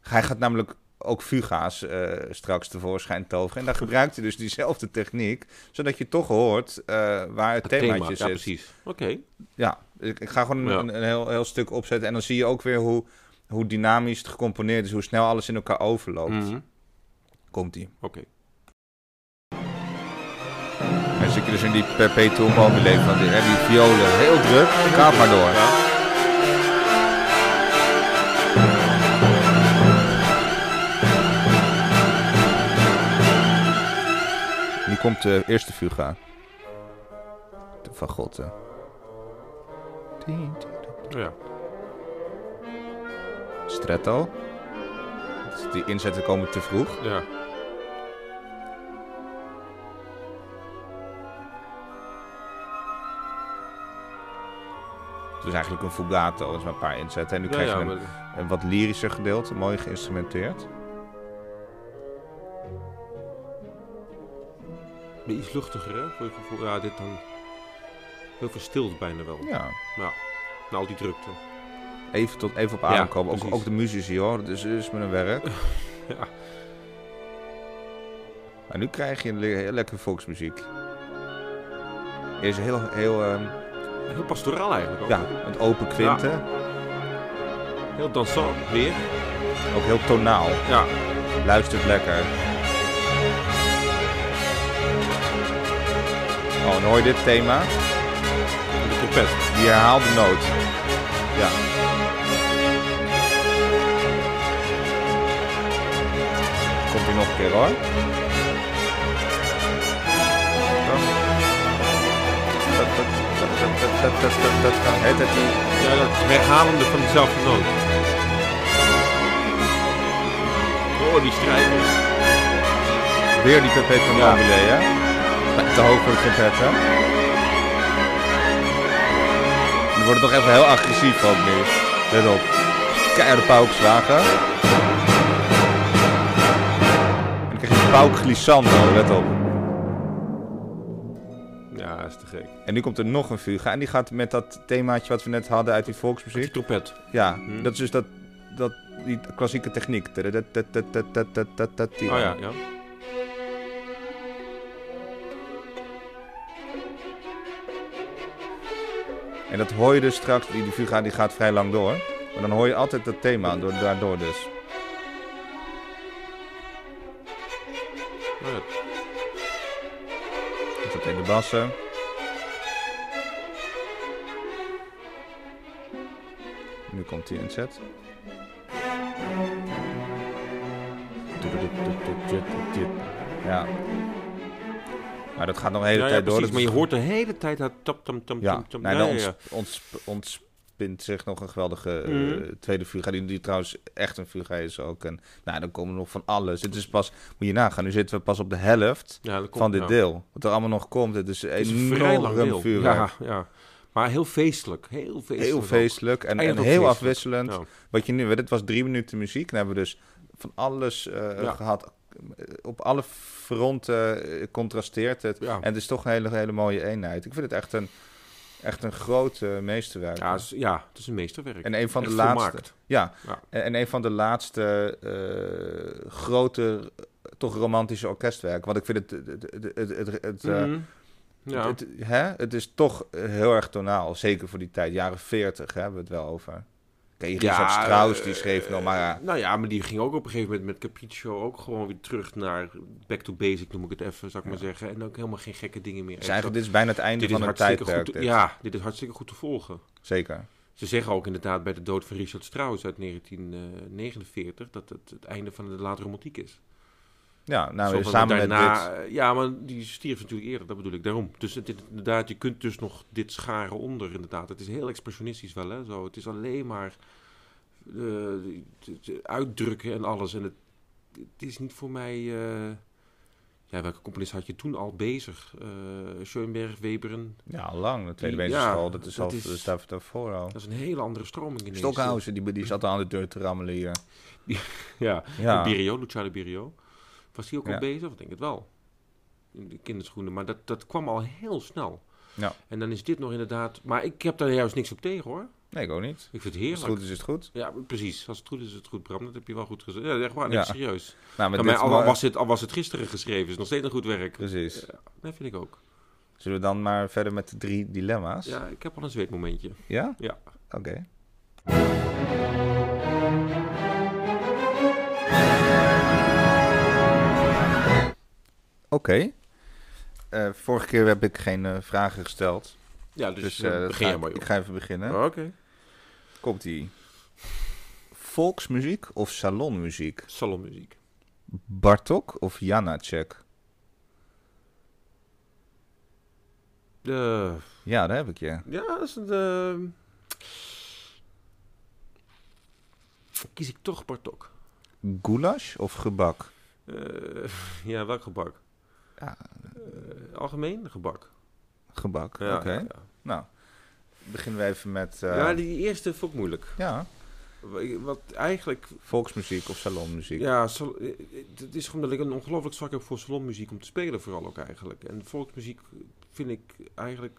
Speaker 1: Hij gaat namelijk ook fuga's eh, straks tevoorschijn toveren. En
Speaker 2: [laughs]
Speaker 1: daar gebruikt hij dus diezelfde techniek, zodat je toch hoort eh, waar het,
Speaker 2: Het
Speaker 1: themaatje
Speaker 2: thema,
Speaker 1: zit.
Speaker 2: ja, precies. Oké.
Speaker 1: Ja, ik, ik ga gewoon een,
Speaker 2: Ja.
Speaker 1: een, een heel, heel stuk opzetten. En dan zie je ook weer hoe, hoe dynamisch het gecomponeerd is. Hoe snel alles in elkaar overloopt.
Speaker 2: Mhm.
Speaker 1: Komt-ie.
Speaker 2: Oké.
Speaker 1: En dan zit je dus in die perpetuum mobile van die, hè, die violen. Heel druk. Gaat maar door.
Speaker 2: Ja.
Speaker 1: Nu komt de eerste fuga. De Van God. hè.
Speaker 2: Oh ja.
Speaker 1: Stretto. Dus Die inzetten komen te vroeg.
Speaker 2: ja.
Speaker 1: Dus eigenlijk een fugato. Dat is maar een paar inzetten. En nu
Speaker 2: Ja,
Speaker 1: krijg je
Speaker 2: ja,
Speaker 1: een,
Speaker 2: maar-
Speaker 1: een wat lyrischer gedeelte. Mooi geïnstrumenteerd.
Speaker 2: maar iets luchtiger, hè? Voor je gevoel. Ja, dit dan... Heel verstild bijna wel. Ja.
Speaker 1: Ja.
Speaker 2: Na al die drukte.
Speaker 1: Even, tot, even op
Speaker 2: Ja,
Speaker 1: adem komen. Ook,
Speaker 2: precies.
Speaker 1: ook de muzici hoor, dus is met een werk.
Speaker 2: [laughs] Ja.
Speaker 1: Maar nu krijg je le- heel lekker volksmuziek. Is heel, heel ehm,
Speaker 2: Heel pastoraal eigenlijk ook.
Speaker 1: ja, met open kwinten.
Speaker 2: Heel dansant weer.
Speaker 1: Ook heel tonaal.
Speaker 2: Ja.
Speaker 1: Luistert lekker. Oh, en hoor je dit thema?
Speaker 2: De trompet.
Speaker 1: Die herhaalde noot. Ja. Komt hij nog een keer hoor. Het het die.
Speaker 2: Ja, dat herhalende van diezelfde noot. Oh, die strijkers.
Speaker 1: Weer die pipet van
Speaker 2: Ja.
Speaker 1: Mobile, hè? Te hoog voor de pipet, hè? Die worden toch even heel agressief ook nu. Let op. Keiharde paukslagen. En dan krijg je pauk glissando, let op.
Speaker 2: Ja, is te gek.
Speaker 1: En nu komt er nog een fuga. En die gaat met dat themaatje wat we net hadden uit die
Speaker 2: Die
Speaker 1: volksmuziek.
Speaker 2: trompet.
Speaker 1: Ja,
Speaker 2: Hm.
Speaker 1: dat is dus dat, dat, die klassieke techniek.
Speaker 2: Oh ja, ja.
Speaker 1: En dat hoor je dus straks, die, die fuga die gaat vrij lang door. Maar dan hoor je altijd dat thema door, daardoor dus.
Speaker 2: Oh ja.
Speaker 1: Dus dat in de bassen. Nu komt die inzet. Ja. Maar dat gaat nog een hele
Speaker 2: Ja, ja,
Speaker 1: tijd door. Dat
Speaker 2: precies, maar
Speaker 1: is dus-
Speaker 2: je hoort de hele tijd dat tap tam tam
Speaker 1: Ja, nou,
Speaker 2: tam tam.
Speaker 1: nee,
Speaker 2: Ja,
Speaker 1: dan
Speaker 2: ja, ja.
Speaker 1: ontsp- ontsp- ontspint zich nog een geweldige eh,
Speaker 2: Mhm.
Speaker 1: tweede fuga. Die, die trouwens echt een fuga is ook. En nou, dan komen er nog van alles. Dit is pas, moet je nagaan, nu zitten we pas op de helft
Speaker 2: Ja, dat komt,
Speaker 1: van dit
Speaker 2: ja.
Speaker 1: deel. Wat er allemaal nog komt, het is
Speaker 2: Het is een vrij lang
Speaker 1: enorm
Speaker 2: deel.
Speaker 1: vuurwerk.
Speaker 2: Ja, ja. Maar heel feestelijk. Heel feestelijk.
Speaker 1: Heel
Speaker 2: ook.
Speaker 1: feestelijk en, en
Speaker 2: Eindigt
Speaker 1: heel
Speaker 2: ook feestelijk.
Speaker 1: afwisselend.
Speaker 2: Nou,
Speaker 1: Wat je nu, dit was drie minuten muziek. Dan hebben we dus van alles eh,
Speaker 2: Ja.
Speaker 1: gehad. Op alle fronten eh, contrasteert het.
Speaker 2: ja.
Speaker 1: En het is toch een hele, hele mooie eenheid. Ik vind het echt een, echt een groot eh, meesterwerk.
Speaker 2: Ja, het is- ja, het is een meesterwerk.
Speaker 1: en een van de
Speaker 2: Echt
Speaker 1: laatste.
Speaker 2: volmaakt.
Speaker 1: Ja,
Speaker 2: Ja.
Speaker 1: en en een van de laatste eh, grote, eh, toch romantische orkestwerken. Want ik vind het. het, het, het, het, het, eh,
Speaker 2: Mhm. ja.
Speaker 1: het- hè? het is toch eh, heel erg tonaal. Zeker voor die tijd, jaren 40 hè, hebben we het wel over. Kijk, Richard Strauss die
Speaker 2: eh,
Speaker 1: schreef nog maar. ja,
Speaker 2: Nou ja, maar die ging ook op een gegeven moment met Capriccio ook gewoon weer terug naar back to basic, noem ik het even, zou ik maar zeggen. En ook helemaal geen gekke dingen meer.
Speaker 1: Dus eigenlijk, dit is bijna het einde
Speaker 2: dit is
Speaker 1: van een
Speaker 2: hartstikke
Speaker 1: tijdperk.
Speaker 2: goed. te-
Speaker 1: dit.
Speaker 2: ja, dit is hartstikke goed te volgen.
Speaker 1: Zeker.
Speaker 2: Ze zeggen ook inderdaad bij de dood van Richard Strauss uit 1949 dat het het einde van de late romantiek is.
Speaker 1: Ja,
Speaker 2: Zo
Speaker 1: nou,
Speaker 2: van
Speaker 1: samen met dit.
Speaker 2: daarna, eh, Ja, maar die stierf natuurlijk eerder, dat bedoel ik daarom. Dus het, is inderdaad, je kunt dus nog dit scharen onder, inderdaad. Het is heel expressionistisch wel, hè. Zo. Het is alleen maar eh, het- het uitdrukken en alles. En het, het is niet voor mij... eh, ja, welke componist had je toen al bezig? Eh Schoenberg, Weberen.
Speaker 1: Ja, lang. De Tweede
Speaker 2: Die-
Speaker 1: Wezensschool,
Speaker 2: ja,
Speaker 1: dat is
Speaker 2: dat
Speaker 1: al
Speaker 2: is-
Speaker 1: dat is daar, daarvoor al.
Speaker 2: Dat is een hele andere stroming in
Speaker 1: Stockhausen, die, die zat al aan de deur te rammelen hier.
Speaker 2: Ja,
Speaker 1: Ja.
Speaker 2: Birio, Luciano Birio. Was hij ook
Speaker 1: Ja.
Speaker 2: al bezig? Ik denk het wel. In de kinderschoenen. Maar dat, dat kwam al heel snel.
Speaker 1: Ja.
Speaker 2: En dan is dit nog inderdaad... Maar ik heb daar juist niks op tegen, hoor.
Speaker 1: Nee, ik ook niet.
Speaker 2: Ik vind
Speaker 1: Als
Speaker 2: het heerlijk.
Speaker 1: het goed is, is het goed.
Speaker 2: Ja, precies. Als het goed is, is het goed, Bram. Dat heb je wel goed gezegd. Ja, echt waar.
Speaker 1: Ja.
Speaker 2: Nee, serieus.
Speaker 1: Nou,
Speaker 2: Maar
Speaker 1: maar Dus- dit
Speaker 2: al,
Speaker 1: ma-
Speaker 2: was het, al was het gisteren geschreven, is nog steeds een goed werk.
Speaker 1: Precies.
Speaker 2: Ja, dat vind ik ook.
Speaker 1: Zullen we dan maar verder met de drie dilemma's? Ja?
Speaker 2: Ja, ik heb al een zweetmomentje. Ja.
Speaker 1: Oké. Oké. Eh, vorige keer heb ik geen eh, vragen gesteld.
Speaker 2: Ja,
Speaker 1: Dus,
Speaker 2: dus,
Speaker 1: eh,
Speaker 2: eh,
Speaker 1: dat
Speaker 2: begin
Speaker 1: ga
Speaker 2: jij
Speaker 1: ik-
Speaker 2: maar, joh.
Speaker 1: ik ga even beginnen.
Speaker 2: Oké.
Speaker 1: Komt-ie. Volksmuziek of salonmuziek?
Speaker 2: Salonmuziek.
Speaker 1: Bartok of Janacek?
Speaker 2: De...
Speaker 1: Ja, daar heb ik je.
Speaker 2: Ja, dat is een. eh, Kies ik toch Bartok.
Speaker 1: Goulash of gebak?
Speaker 2: Eh, [laughs] ja, welk gebak?
Speaker 1: Ja.
Speaker 2: Eh, algemeen gebak.
Speaker 1: Gebak,
Speaker 2: Ja,
Speaker 1: oké.
Speaker 2: ja, ja.
Speaker 1: Nou, beginnen we even met... eh,
Speaker 2: Ja,
Speaker 1: ja,
Speaker 2: die eerste vond ik moeilijk. Wa- Wat eigenlijk...
Speaker 1: volksmuziek of salonmuziek.
Speaker 2: Ja, sal- eh, eh, het is gewoon dat ik een ongelooflijk zwak heb voor salonmuziek om te spelen vooral ook eigenlijk. En volksmuziek vind ik eigenlijk...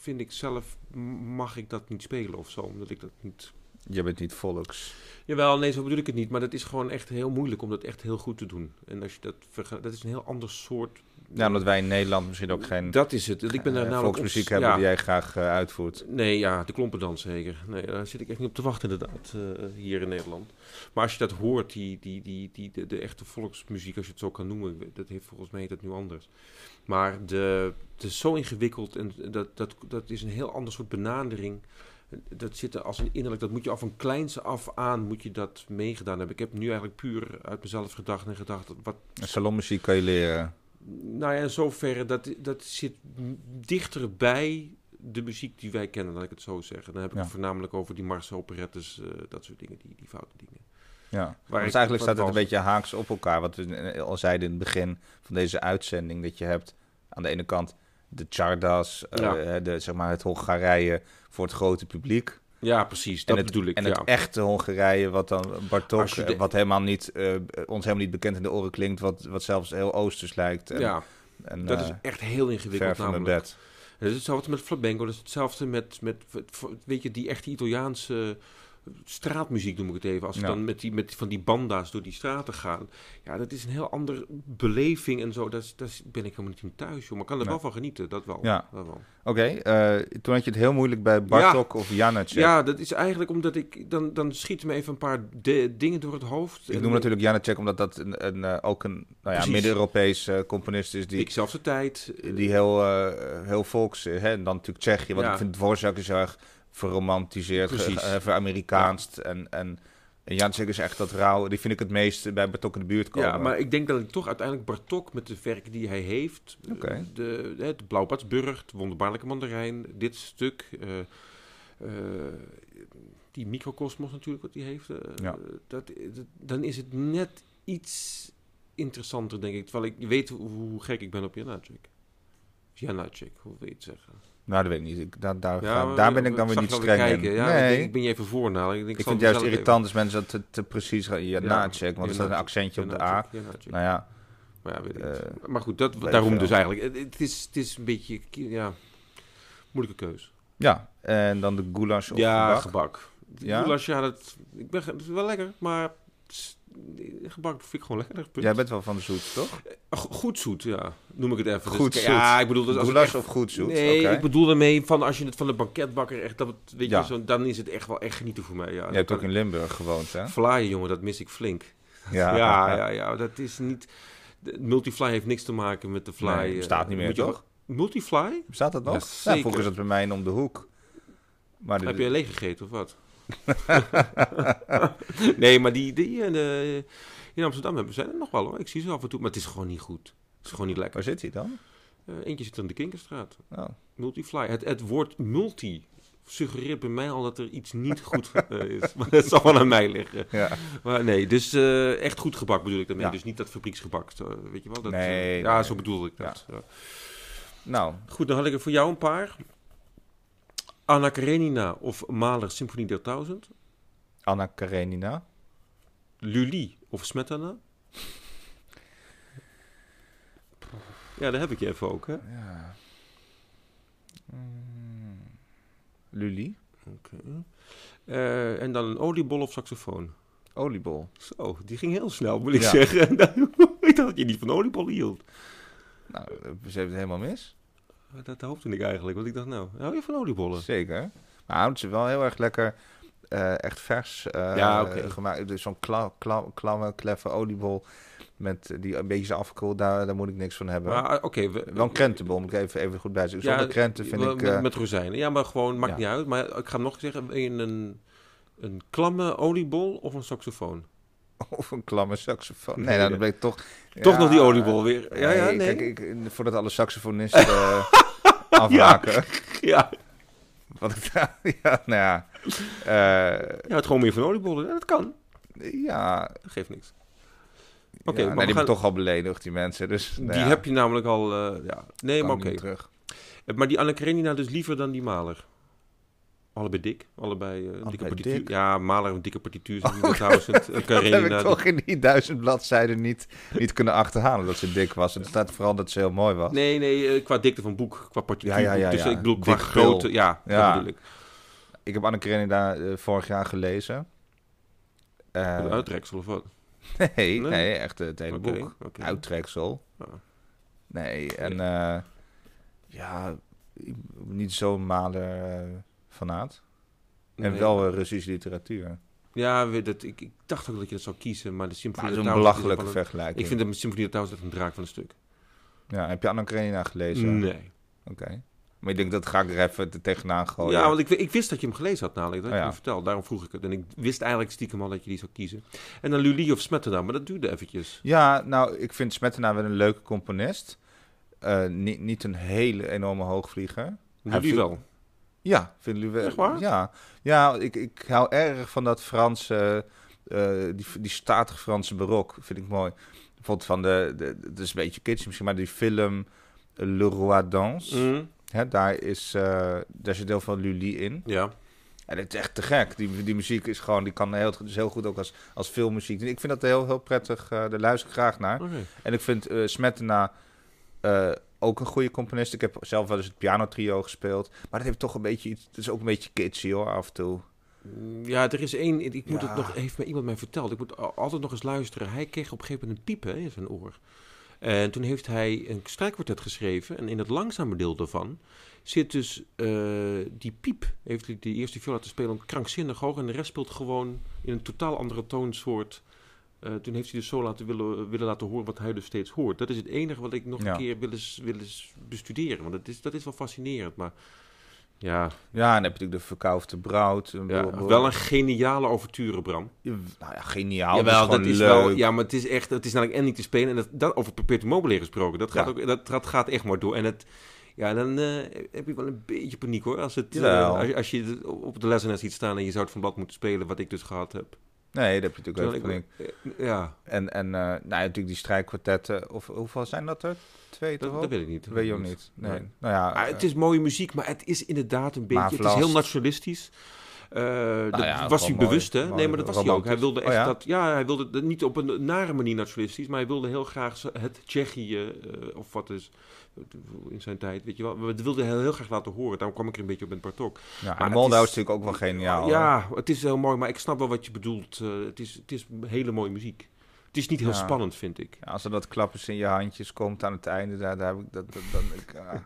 Speaker 2: Vind ik zelf... Mag ik dat niet spelen of zo, omdat ik dat niet
Speaker 1: Je bent niet volks.
Speaker 2: Jawel, nee, zo bedoel ik het niet. Maar dat is gewoon echt heel moeilijk om dat echt heel goed te doen. En als je dat vergelijkt, dat is een heel ander soort.
Speaker 1: Ja, omdat wij in Nederland misschien ook geen
Speaker 2: Dat is het. Ik ben daar
Speaker 1: eh,
Speaker 2: namelijk
Speaker 1: volksmuziek
Speaker 2: ons-
Speaker 1: hebben
Speaker 2: ja.
Speaker 1: die jij graag eh, uitvoert.
Speaker 2: Nee, ja, de klompendans zeker. Nee, daar zit ik echt niet op te wachten inderdaad, eh, hier in Nederland. Maar als je dat hoort, die, die, die, die, de, de echte volksmuziek, als je het zo kan noemen, dat heeft volgens mij heet dat nu anders. Maar de, het is zo ingewikkeld en dat, dat, dat is een heel ander soort benadering. Dat zit er als een innerlijk, dat moet je al van kleins af aan, moet je dat meegedaan hebben. Ik heb nu eigenlijk puur uit mezelf gedacht en gedacht, wat,
Speaker 1: En salonmuziek kan je leren.
Speaker 2: nou ja, in zoverre, dat, dat zit m- dichter bij de muziek die wij kennen, laat ik het zo zeggen. Dan heb ik
Speaker 1: Ja.
Speaker 2: het voornamelijk over die marsoperettes, eh dat soort dingen, die, die foute dingen.
Speaker 1: Ja.
Speaker 2: Waar
Speaker 1: Dus
Speaker 2: ik-
Speaker 1: eigenlijk
Speaker 2: wat
Speaker 1: staat het een
Speaker 2: was-
Speaker 1: beetje haaks op elkaar. Wat we eh, al zeiden in het begin van deze uitzending. Dat je hebt aan de ene kant de Czardas, eh,
Speaker 2: Ja.
Speaker 1: de, zeg maar het Hongarije voor het grote publiek.
Speaker 2: Ja, precies, dat
Speaker 1: en het,
Speaker 2: bedoel ik,
Speaker 1: En
Speaker 2: ja.
Speaker 1: het echte Hongarije, wat dan Bartok,
Speaker 2: Als je de-
Speaker 1: eh, wat helemaal niet, eh, ons helemaal niet bekend in de oren klinkt. Wat, wat zelfs heel Oosters lijkt. En,
Speaker 2: ja,
Speaker 1: en,
Speaker 2: dat
Speaker 1: eh,
Speaker 2: is echt heel
Speaker 1: ver
Speaker 2: ingewikkeld
Speaker 1: van mijn
Speaker 2: namelijk.
Speaker 1: bed.
Speaker 2: Het is hetzelfde met flamenco, dat is hetzelfde met, met, weet je, die echte Italiaanse straatmuziek noem ik het even. Als ze
Speaker 1: Ja.
Speaker 2: dan met die, met van die banda's door die straten gaan. Ja, dat is een heel andere beleving en zo. Daar is- daar is- ben ik helemaal niet in thuis, joh. Maar ik kan er
Speaker 1: Nee.
Speaker 2: wel van genieten, dat wel.
Speaker 1: Ja.
Speaker 2: Dat wel.
Speaker 1: Oké, eh, toen had je het heel moeilijk bij Bartok of Janacek.
Speaker 2: Ja, dat is eigenlijk omdat ik... Dan, dan schieten me even een paar de- dingen door het hoofd.
Speaker 1: Ik
Speaker 2: En
Speaker 1: noem natuurlijk Janacek omdat dat een, een, eh, ook een nou ja,
Speaker 2: Precies.
Speaker 1: midden-Europees eh, componist is die,
Speaker 2: Ik zelfs de tijd. eh,
Speaker 1: die heel, eh, heel volks is. Hè? En dan natuurlijk Tsjechië, want
Speaker 2: Ja.
Speaker 1: ik vind Dvorak is heel erg verromantiseerd, ge-
Speaker 2: Precies.
Speaker 1: ge- ver-Amerikaanst. En, en, en Janacek is echt dat rauw, die vind ik het meest bij Bartok in de buurt komen.
Speaker 2: Ja, maar ik denk dat ik toch uiteindelijk Bartok met de werken die hij heeft... eh,
Speaker 1: Oké.
Speaker 2: De, hè, de Blauwbaardsburg, de Wonderbaarlijke Mandarijn, dit stuk... eh, eh, die microcosmos natuurlijk wat hij heeft. eh,
Speaker 1: Ja.
Speaker 2: dat, dat- dan is het net iets interessanter, denk ik. Terwijl ik weet hoe, hoe gek ik ben op Janacek. Pianacek, hoe wil je het zeggen?
Speaker 1: Nou, dat weet ik niet. Ik, daar daar,
Speaker 2: Ja,
Speaker 1: gaan-
Speaker 2: maar-
Speaker 1: daar ben ik dan
Speaker 2: zag
Speaker 1: weer niet
Speaker 2: je alweer
Speaker 1: streng
Speaker 2: kijken.
Speaker 1: in.
Speaker 2: Ja, ik
Speaker 1: nee,
Speaker 2: denk, ik
Speaker 1: ik,
Speaker 2: ben je even voornalen. Ik, denk, ik zal
Speaker 1: vind het juist
Speaker 2: het zelf even-
Speaker 1: irritant als mensen dat te, te precies gaan. Ja, na-check, want er staat een
Speaker 2: Pianacek,
Speaker 1: accentje op de A.
Speaker 2: Pianacek, Pianacek.
Speaker 1: Nou ja,
Speaker 2: Maar, ja, weet ik
Speaker 1: Eh,
Speaker 2: niet. maar goed, dat,
Speaker 1: weet ik
Speaker 2: daarom
Speaker 1: veel.
Speaker 2: dus eigenlijk. Het, het is, het is een beetje, ja, moeilijke keus.
Speaker 1: ja. En dan de goulash of
Speaker 2: ja,
Speaker 1: gebak.
Speaker 2: gebak.
Speaker 1: Ja?
Speaker 2: Ja? ja, dat, ik ben, het is wel lekker, maar het is- gebak vind ik gewoon lekker. punt.
Speaker 1: Jij bent wel van de zoet, toch?
Speaker 2: Go- Goed zoet, ja. Noem ik het even.
Speaker 1: Goed
Speaker 2: Dus-
Speaker 1: zoet.
Speaker 2: Ja, ik bedoel, dus als het
Speaker 1: Goulash
Speaker 2: echt-
Speaker 1: of goed zoet?
Speaker 2: Nee,
Speaker 1: Oké.
Speaker 2: ik bedoel daarmee van als je het van de banketbakker echt, dat, het- weet
Speaker 1: Ja.
Speaker 2: je, zo, dan is het echt wel echt genieten voor mij. Ja,
Speaker 1: Je hebt ook in Limburg gewoond, hè?
Speaker 2: Vlaaien, jongen, dat mis ik flink. [laughs] Ja, ja, ja, dat is niet. de- Multifly heeft niks te maken met de fly.
Speaker 1: Nee,
Speaker 2: eh,
Speaker 1: bestaat niet meer,
Speaker 2: moet je-
Speaker 1: toch?
Speaker 2: Multifly?
Speaker 1: Bestaat dat nog?
Speaker 2: Ja,
Speaker 1: Nou,
Speaker 2: zeker.
Speaker 1: vroeger is het bij mij om de hoek. Maar dit-
Speaker 2: Heb je leeg gegeten of wat? [laughs] nee, maar die, die in, eh, in Amsterdam hebben zijn er nog wel hoor. Ik zie ze af en toe, maar het is gewoon niet goed. Het is gewoon niet lekker.
Speaker 1: Waar zit hij dan?
Speaker 2: Eh, eentje zit aan de Kinkerstraat.
Speaker 1: Oh.
Speaker 2: Multifly. Het, het woord multi suggereert bij mij al dat er iets niet goed eh, is. [laughs] Maar dat zal wel aan mij liggen.
Speaker 1: Ja.
Speaker 2: Maar nee, dus eh, echt goed gebak bedoel ik daarmee.
Speaker 1: Ja.
Speaker 2: Dus niet dat fabrieksgebak. zo, weet je wel? Dat,
Speaker 1: Nee,
Speaker 2: eh, ja,
Speaker 1: nee.
Speaker 2: zo bedoel ik dat. ja.
Speaker 1: Nou,
Speaker 2: Goed, dan had ik er voor jou een paar. Anna Karenina of Mahler Symfonie 3000.
Speaker 1: Anna Karenina.
Speaker 2: Lully of Smetana. Ja, daar heb ik je even ook, hè?
Speaker 1: Ja. Mm. Luli.
Speaker 2: Eh, en dan een oliebol of saxofoon.
Speaker 1: Oliebol.
Speaker 2: Zo, die ging heel snel, moet ik
Speaker 1: Ja.
Speaker 2: zeggen. [laughs] Nou, ik dacht dat je niet van oliebol hield.
Speaker 1: Nou, eh, ze heeft het helemaal mis.
Speaker 2: Dat hoopte ik eigenlijk, want ik dacht, nou, hou je van oliebollen?
Speaker 1: Zeker. Maar houdt ze wel heel erg lekker. eh, echt vers eh,
Speaker 2: Ja, oké.
Speaker 1: gemaakt. Dus zo'n kla, kla, klamme, kleffe oliebol. Met eh, die een beetje is afgekoeld. Daar, daar moet ik niks van hebben.
Speaker 2: Maar eh, oké, we-
Speaker 1: wel een dus krentenbol, moet ik even, even goed bij zeggen. Zonder krenten vind
Speaker 2: wel
Speaker 1: ik...
Speaker 2: Met,
Speaker 1: eh,
Speaker 2: met rozijnen. Ja, maar gewoon, maakt
Speaker 1: ja.
Speaker 2: niet uit. Maar ik ga hem nog zeggen, wil je een, een klamme oliebol of een saxofoon?
Speaker 1: [laughs] Of een klamme saxofoon. Nee,
Speaker 2: Nee,
Speaker 1: nou,
Speaker 2: nee.
Speaker 1: dat bleek toch...
Speaker 2: Toch
Speaker 1: Ja,
Speaker 2: nog die oliebol weer. Ja, ja, nee.
Speaker 1: Kijk, ik, voordat alle saxofonisten eh,
Speaker 2: [laughs]
Speaker 1: [laughs] afhaken. [laughs]
Speaker 2: ja.
Speaker 1: Wat ik daar... [laughs] Ja, nou ja. Eh,
Speaker 2: ja, het gewoon meer van oliebollen. Ja, dat kan.
Speaker 1: ja.
Speaker 2: Dat geeft niks. Oké,
Speaker 1: Oké, maar
Speaker 2: maar we
Speaker 1: die
Speaker 2: gaan,
Speaker 1: hebben toch al beledigd, die mensen. Dus, nou
Speaker 2: die
Speaker 1: ja,
Speaker 2: heb je namelijk al... eh, ja. Nee,
Speaker 1: kan
Speaker 2: maar
Speaker 1: niet
Speaker 2: oké.
Speaker 1: meer terug.
Speaker 2: Eh, Maar die Anna Karenina dus liever dan die Maler. Allebei dik. Allebei, eh, dikke partituur.
Speaker 1: dik.
Speaker 2: Ja, Maler een dikke partituur. Oh, duizend.
Speaker 1: [laughs] Dat heb
Speaker 2: Karenina...
Speaker 1: ik toch in die duizend bladzijden niet, niet kunnen achterhalen dat ze dik was. Het staat vooral dat ze heel mooi was.
Speaker 2: Nee, nee, eh, qua dikte van boek, qua partituur.
Speaker 1: Ja, ja, ja,
Speaker 2: Dus
Speaker 1: ja.
Speaker 2: ik bedoel, qua
Speaker 1: Dik spul.
Speaker 2: grootte. Ja,
Speaker 1: Ja.
Speaker 2: dat bedoel ik.
Speaker 1: Ik heb Anne Karenina eh, vorig jaar gelezen. Eh,
Speaker 2: Een uitreksel of wat?
Speaker 1: [laughs] nee,
Speaker 2: Nee?
Speaker 1: nee, echt eh, het hele
Speaker 2: Oké,
Speaker 1: boek.
Speaker 2: oké. Ah.
Speaker 1: Uittreksel.
Speaker 2: Ja.
Speaker 1: Nee, en eh, ja, ik- niet zo'n maler eh fanaat. En
Speaker 2: Nee.
Speaker 1: wel eh, Russische literatuur.
Speaker 2: Ja, we- dat, ik, ik dacht ook dat je dat zou kiezen, maar de
Speaker 1: Maar
Speaker 2: Symfonie
Speaker 1: het is een
Speaker 2: 1000 is
Speaker 1: belachelijke
Speaker 2: wel
Speaker 1: vergelijking.
Speaker 2: Ik vind de Symfonie 1000 echt een draak van een stuk.
Speaker 1: ja, heb je Anna Karenina gelezen?
Speaker 2: Nee.
Speaker 1: Oké. Maar ik denk dat ga ik er even te- tegenaan gooien.
Speaker 2: ja, want ik, ik wist dat je hem gelezen had namelijk, dat
Speaker 1: Oh,
Speaker 2: je
Speaker 1: ja.
Speaker 2: me vertelde. Daarom vroeg ik het. En ik wist eigenlijk stiekem al dat je die zou kiezen. En dan Lully of Smetana, maar dat duurde eventjes.
Speaker 1: Ja, nou, ik vind Smetana wel een leuke componist. Eh, niet, niet een hele enorme hoogvlieger. Hij
Speaker 2: Lully
Speaker 1: viel-
Speaker 2: wel.
Speaker 1: Ja, vind jullie wel?
Speaker 2: Echt waar?
Speaker 1: Ja, ja ik, ik hou erg van dat Franse, eh, die, die statige Franse barok. Vind ik mooi. Bijvoorbeeld van de, de, het is een beetje kitsch misschien, maar die film Le Roi Danse.
Speaker 2: Mm,
Speaker 1: Hè, daar, is, eh, daar zit heel veel Lully in.
Speaker 2: ja.
Speaker 1: En het is echt te gek. Die, die muziek is gewoon, die kan heel, dus heel goed ook als, als filmmuziek. Ik vind dat heel, heel prettig. eh, daar luister ik graag naar.
Speaker 2: Oké.
Speaker 1: En ik vind eh Smetana eh, ook een goede componist. Ik heb zelf wel eens het pianotrio gespeeld. Maar dat heeft toch een beetje iets... Het is ook een beetje kitschy hoor, af en toe.
Speaker 2: Ja, er is één. Ik moet
Speaker 1: Ja.
Speaker 2: het nog. Heeft mij iemand mij verteld. Ik moet al- altijd nog eens luisteren. Hij kreeg op een gegeven moment een piep hè, in zijn oor. En toen heeft hij een strijkkwartet geschreven. En in het langzame deel daarvan zit dus eh, die piep. Heeft hij die eerste viool laten spelen krankzinnig hoog. En de rest speelt gewoon in een totaal andere toonsoort. Eh, toen heeft hij dus zo laten willen, willen laten horen wat hij dus steeds hoort. Dat is het enige wat ik nog
Speaker 1: Ja.
Speaker 2: een keer wil eens, wil eens bestuderen. Want dat is, dat is wel fascinerend. Maar ja,
Speaker 1: Ja, eh, en dan heb je natuurlijk de verkoufde brood. Een
Speaker 2: ja.
Speaker 1: boel-
Speaker 2: wel een geniale overture, Bram.
Speaker 1: Nou ja, geniaal.
Speaker 2: Jawel,
Speaker 1: dat is, gewoon leuk.
Speaker 2: ja, maar het is echt, het is namelijk en niet te spelen. En dat, dat over Perpetuum Mobile gesproken, dat gaat,
Speaker 1: Ja.
Speaker 2: ook, dat, dat gaat echt maar door. En het, ja, dan eh, heb je wel een beetje paniek hoor. Als, het, eh,
Speaker 1: Jawel.
Speaker 2: als, als je het op de lessenaar ziet staan en je zou het van blad moeten spelen, wat ik dus gehad heb.
Speaker 1: Nee, dat heb je natuurlijk
Speaker 2: Terwijl
Speaker 1: wel
Speaker 2: ik-
Speaker 1: flink.
Speaker 2: eh, Ja,
Speaker 1: En, en eh, nou, ja, natuurlijk die strijkkwartetten. Of hoeveel zijn dat er? Twee
Speaker 2: dat,
Speaker 1: toch?
Speaker 2: dat weet ik niet.
Speaker 1: Dat weet je ook niet. Nee.
Speaker 2: Nee.
Speaker 1: Nou ja,
Speaker 2: Ah,
Speaker 1: eh,
Speaker 2: het is mooie muziek, maar het is inderdaad een beetje...
Speaker 1: Maar
Speaker 2: Het is
Speaker 1: Vlaams-
Speaker 2: heel nationalistisch. Eh, dat
Speaker 1: ja,
Speaker 2: was hij
Speaker 1: gewoon mooi.
Speaker 2: bewust, hè?
Speaker 1: Mooi,
Speaker 2: Nee, maar dat was hij ook. Hij
Speaker 1: romantisch.
Speaker 2: wilde
Speaker 1: Oh,
Speaker 2: echt
Speaker 1: ja?
Speaker 2: dat... Ja, hij wilde dat niet op een nare manier nationalistisch... maar hij wilde heel graag z- het Tsjechië, eh, of wat is... in zijn tijd, weet je wel. Maar dat wilde hij heel graag laten horen. Daarom kwam ik er een beetje op met Bartok.
Speaker 1: ja,
Speaker 2: maar
Speaker 1: en Moldau is,
Speaker 2: het is-
Speaker 1: natuurlijk ook wel geniaal. hè?
Speaker 2: ja, het is heel mooi, maar ik snap wel wat je bedoelt. Eh, het, is, het is hele mooie muziek. Het is niet heel
Speaker 1: Ja.
Speaker 2: spannend, vind ik.
Speaker 1: Ja, als er dat klappers in je handjes komt aan het einde, daar, daar heb ik dat, dat- dan, ik, ah.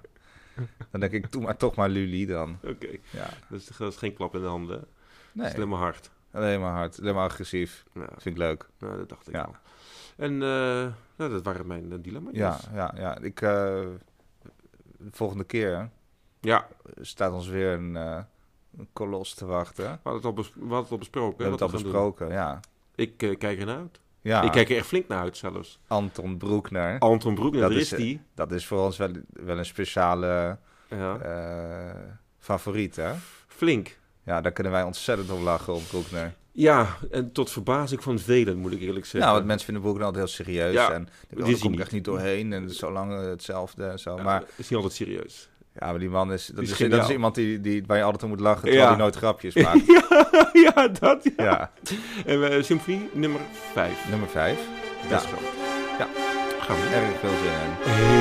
Speaker 2: [laughs]
Speaker 1: dan denk ik, doe maar toch maar Luli dan.
Speaker 2: Oké,
Speaker 1: Ja,
Speaker 2: dat, is, dat is geen klap in de handen. hè? Het
Speaker 1: nee,
Speaker 2: is alleen maar hard.
Speaker 1: alleen maar hard, alleen maar agressief.
Speaker 2: Ja,
Speaker 1: Vind ik leuk.
Speaker 2: nou, dat dacht ik
Speaker 1: Ja.
Speaker 2: al. En eh, nou, dat waren mijn eh, dilemma's.
Speaker 1: Ja, ja, ja. Ik, eh, de volgende keer
Speaker 2: ja,
Speaker 1: staat ons weer een, eh, een kolos te wachten.
Speaker 2: we hadden het al, bes- we hadden het al besproken.
Speaker 1: We
Speaker 2: hè,
Speaker 1: hebben het
Speaker 2: wat
Speaker 1: al
Speaker 2: we gaan
Speaker 1: besproken, ja.
Speaker 2: doen. Ik eh, kijk ernaar uit.
Speaker 1: Ja,
Speaker 2: Ik kijk er echt flink naar uit zelfs.
Speaker 1: Anton Broekner.
Speaker 2: Anton Broekner,
Speaker 1: Dat
Speaker 2: daar
Speaker 1: is,
Speaker 2: is
Speaker 1: eh,
Speaker 2: die.
Speaker 1: Dat is voor ons wel, wel een speciale
Speaker 2: Ja.
Speaker 1: eh, favoriet, hè?
Speaker 2: Flink.
Speaker 1: Ja, daar kunnen wij ontzettend om lachen, om Broekner.
Speaker 2: Ja, en tot verbazing van velen, moet ik eerlijk zeggen.
Speaker 1: Nou, want mensen vinden Broekner altijd heel serieus.
Speaker 2: Ja,
Speaker 1: en Oh,
Speaker 2: is
Speaker 1: daar
Speaker 2: hij
Speaker 1: kom ik
Speaker 2: niet.
Speaker 1: echt niet doorheen. En het is zo lang eh, hetzelfde en zo.
Speaker 2: Ja,
Speaker 1: maar
Speaker 2: is niet altijd
Speaker 1: [laughs]
Speaker 2: serieus.
Speaker 1: ja, maar die man is... Dat
Speaker 2: is
Speaker 1: is, dat
Speaker 2: geniaal.
Speaker 1: is iemand die, die, waar je altijd om moet lachen, terwijl
Speaker 2: Ja.
Speaker 1: hij nooit grapjes maakt.
Speaker 2: [laughs] ja, ja, dat ja.
Speaker 1: ja,
Speaker 2: En eh, symfonie nummer 5.
Speaker 1: nummer vijf.
Speaker 2: Dat is groot.
Speaker 1: Ja.
Speaker 2: Gaan we.
Speaker 1: Erg veel zin in.
Speaker 2: Heel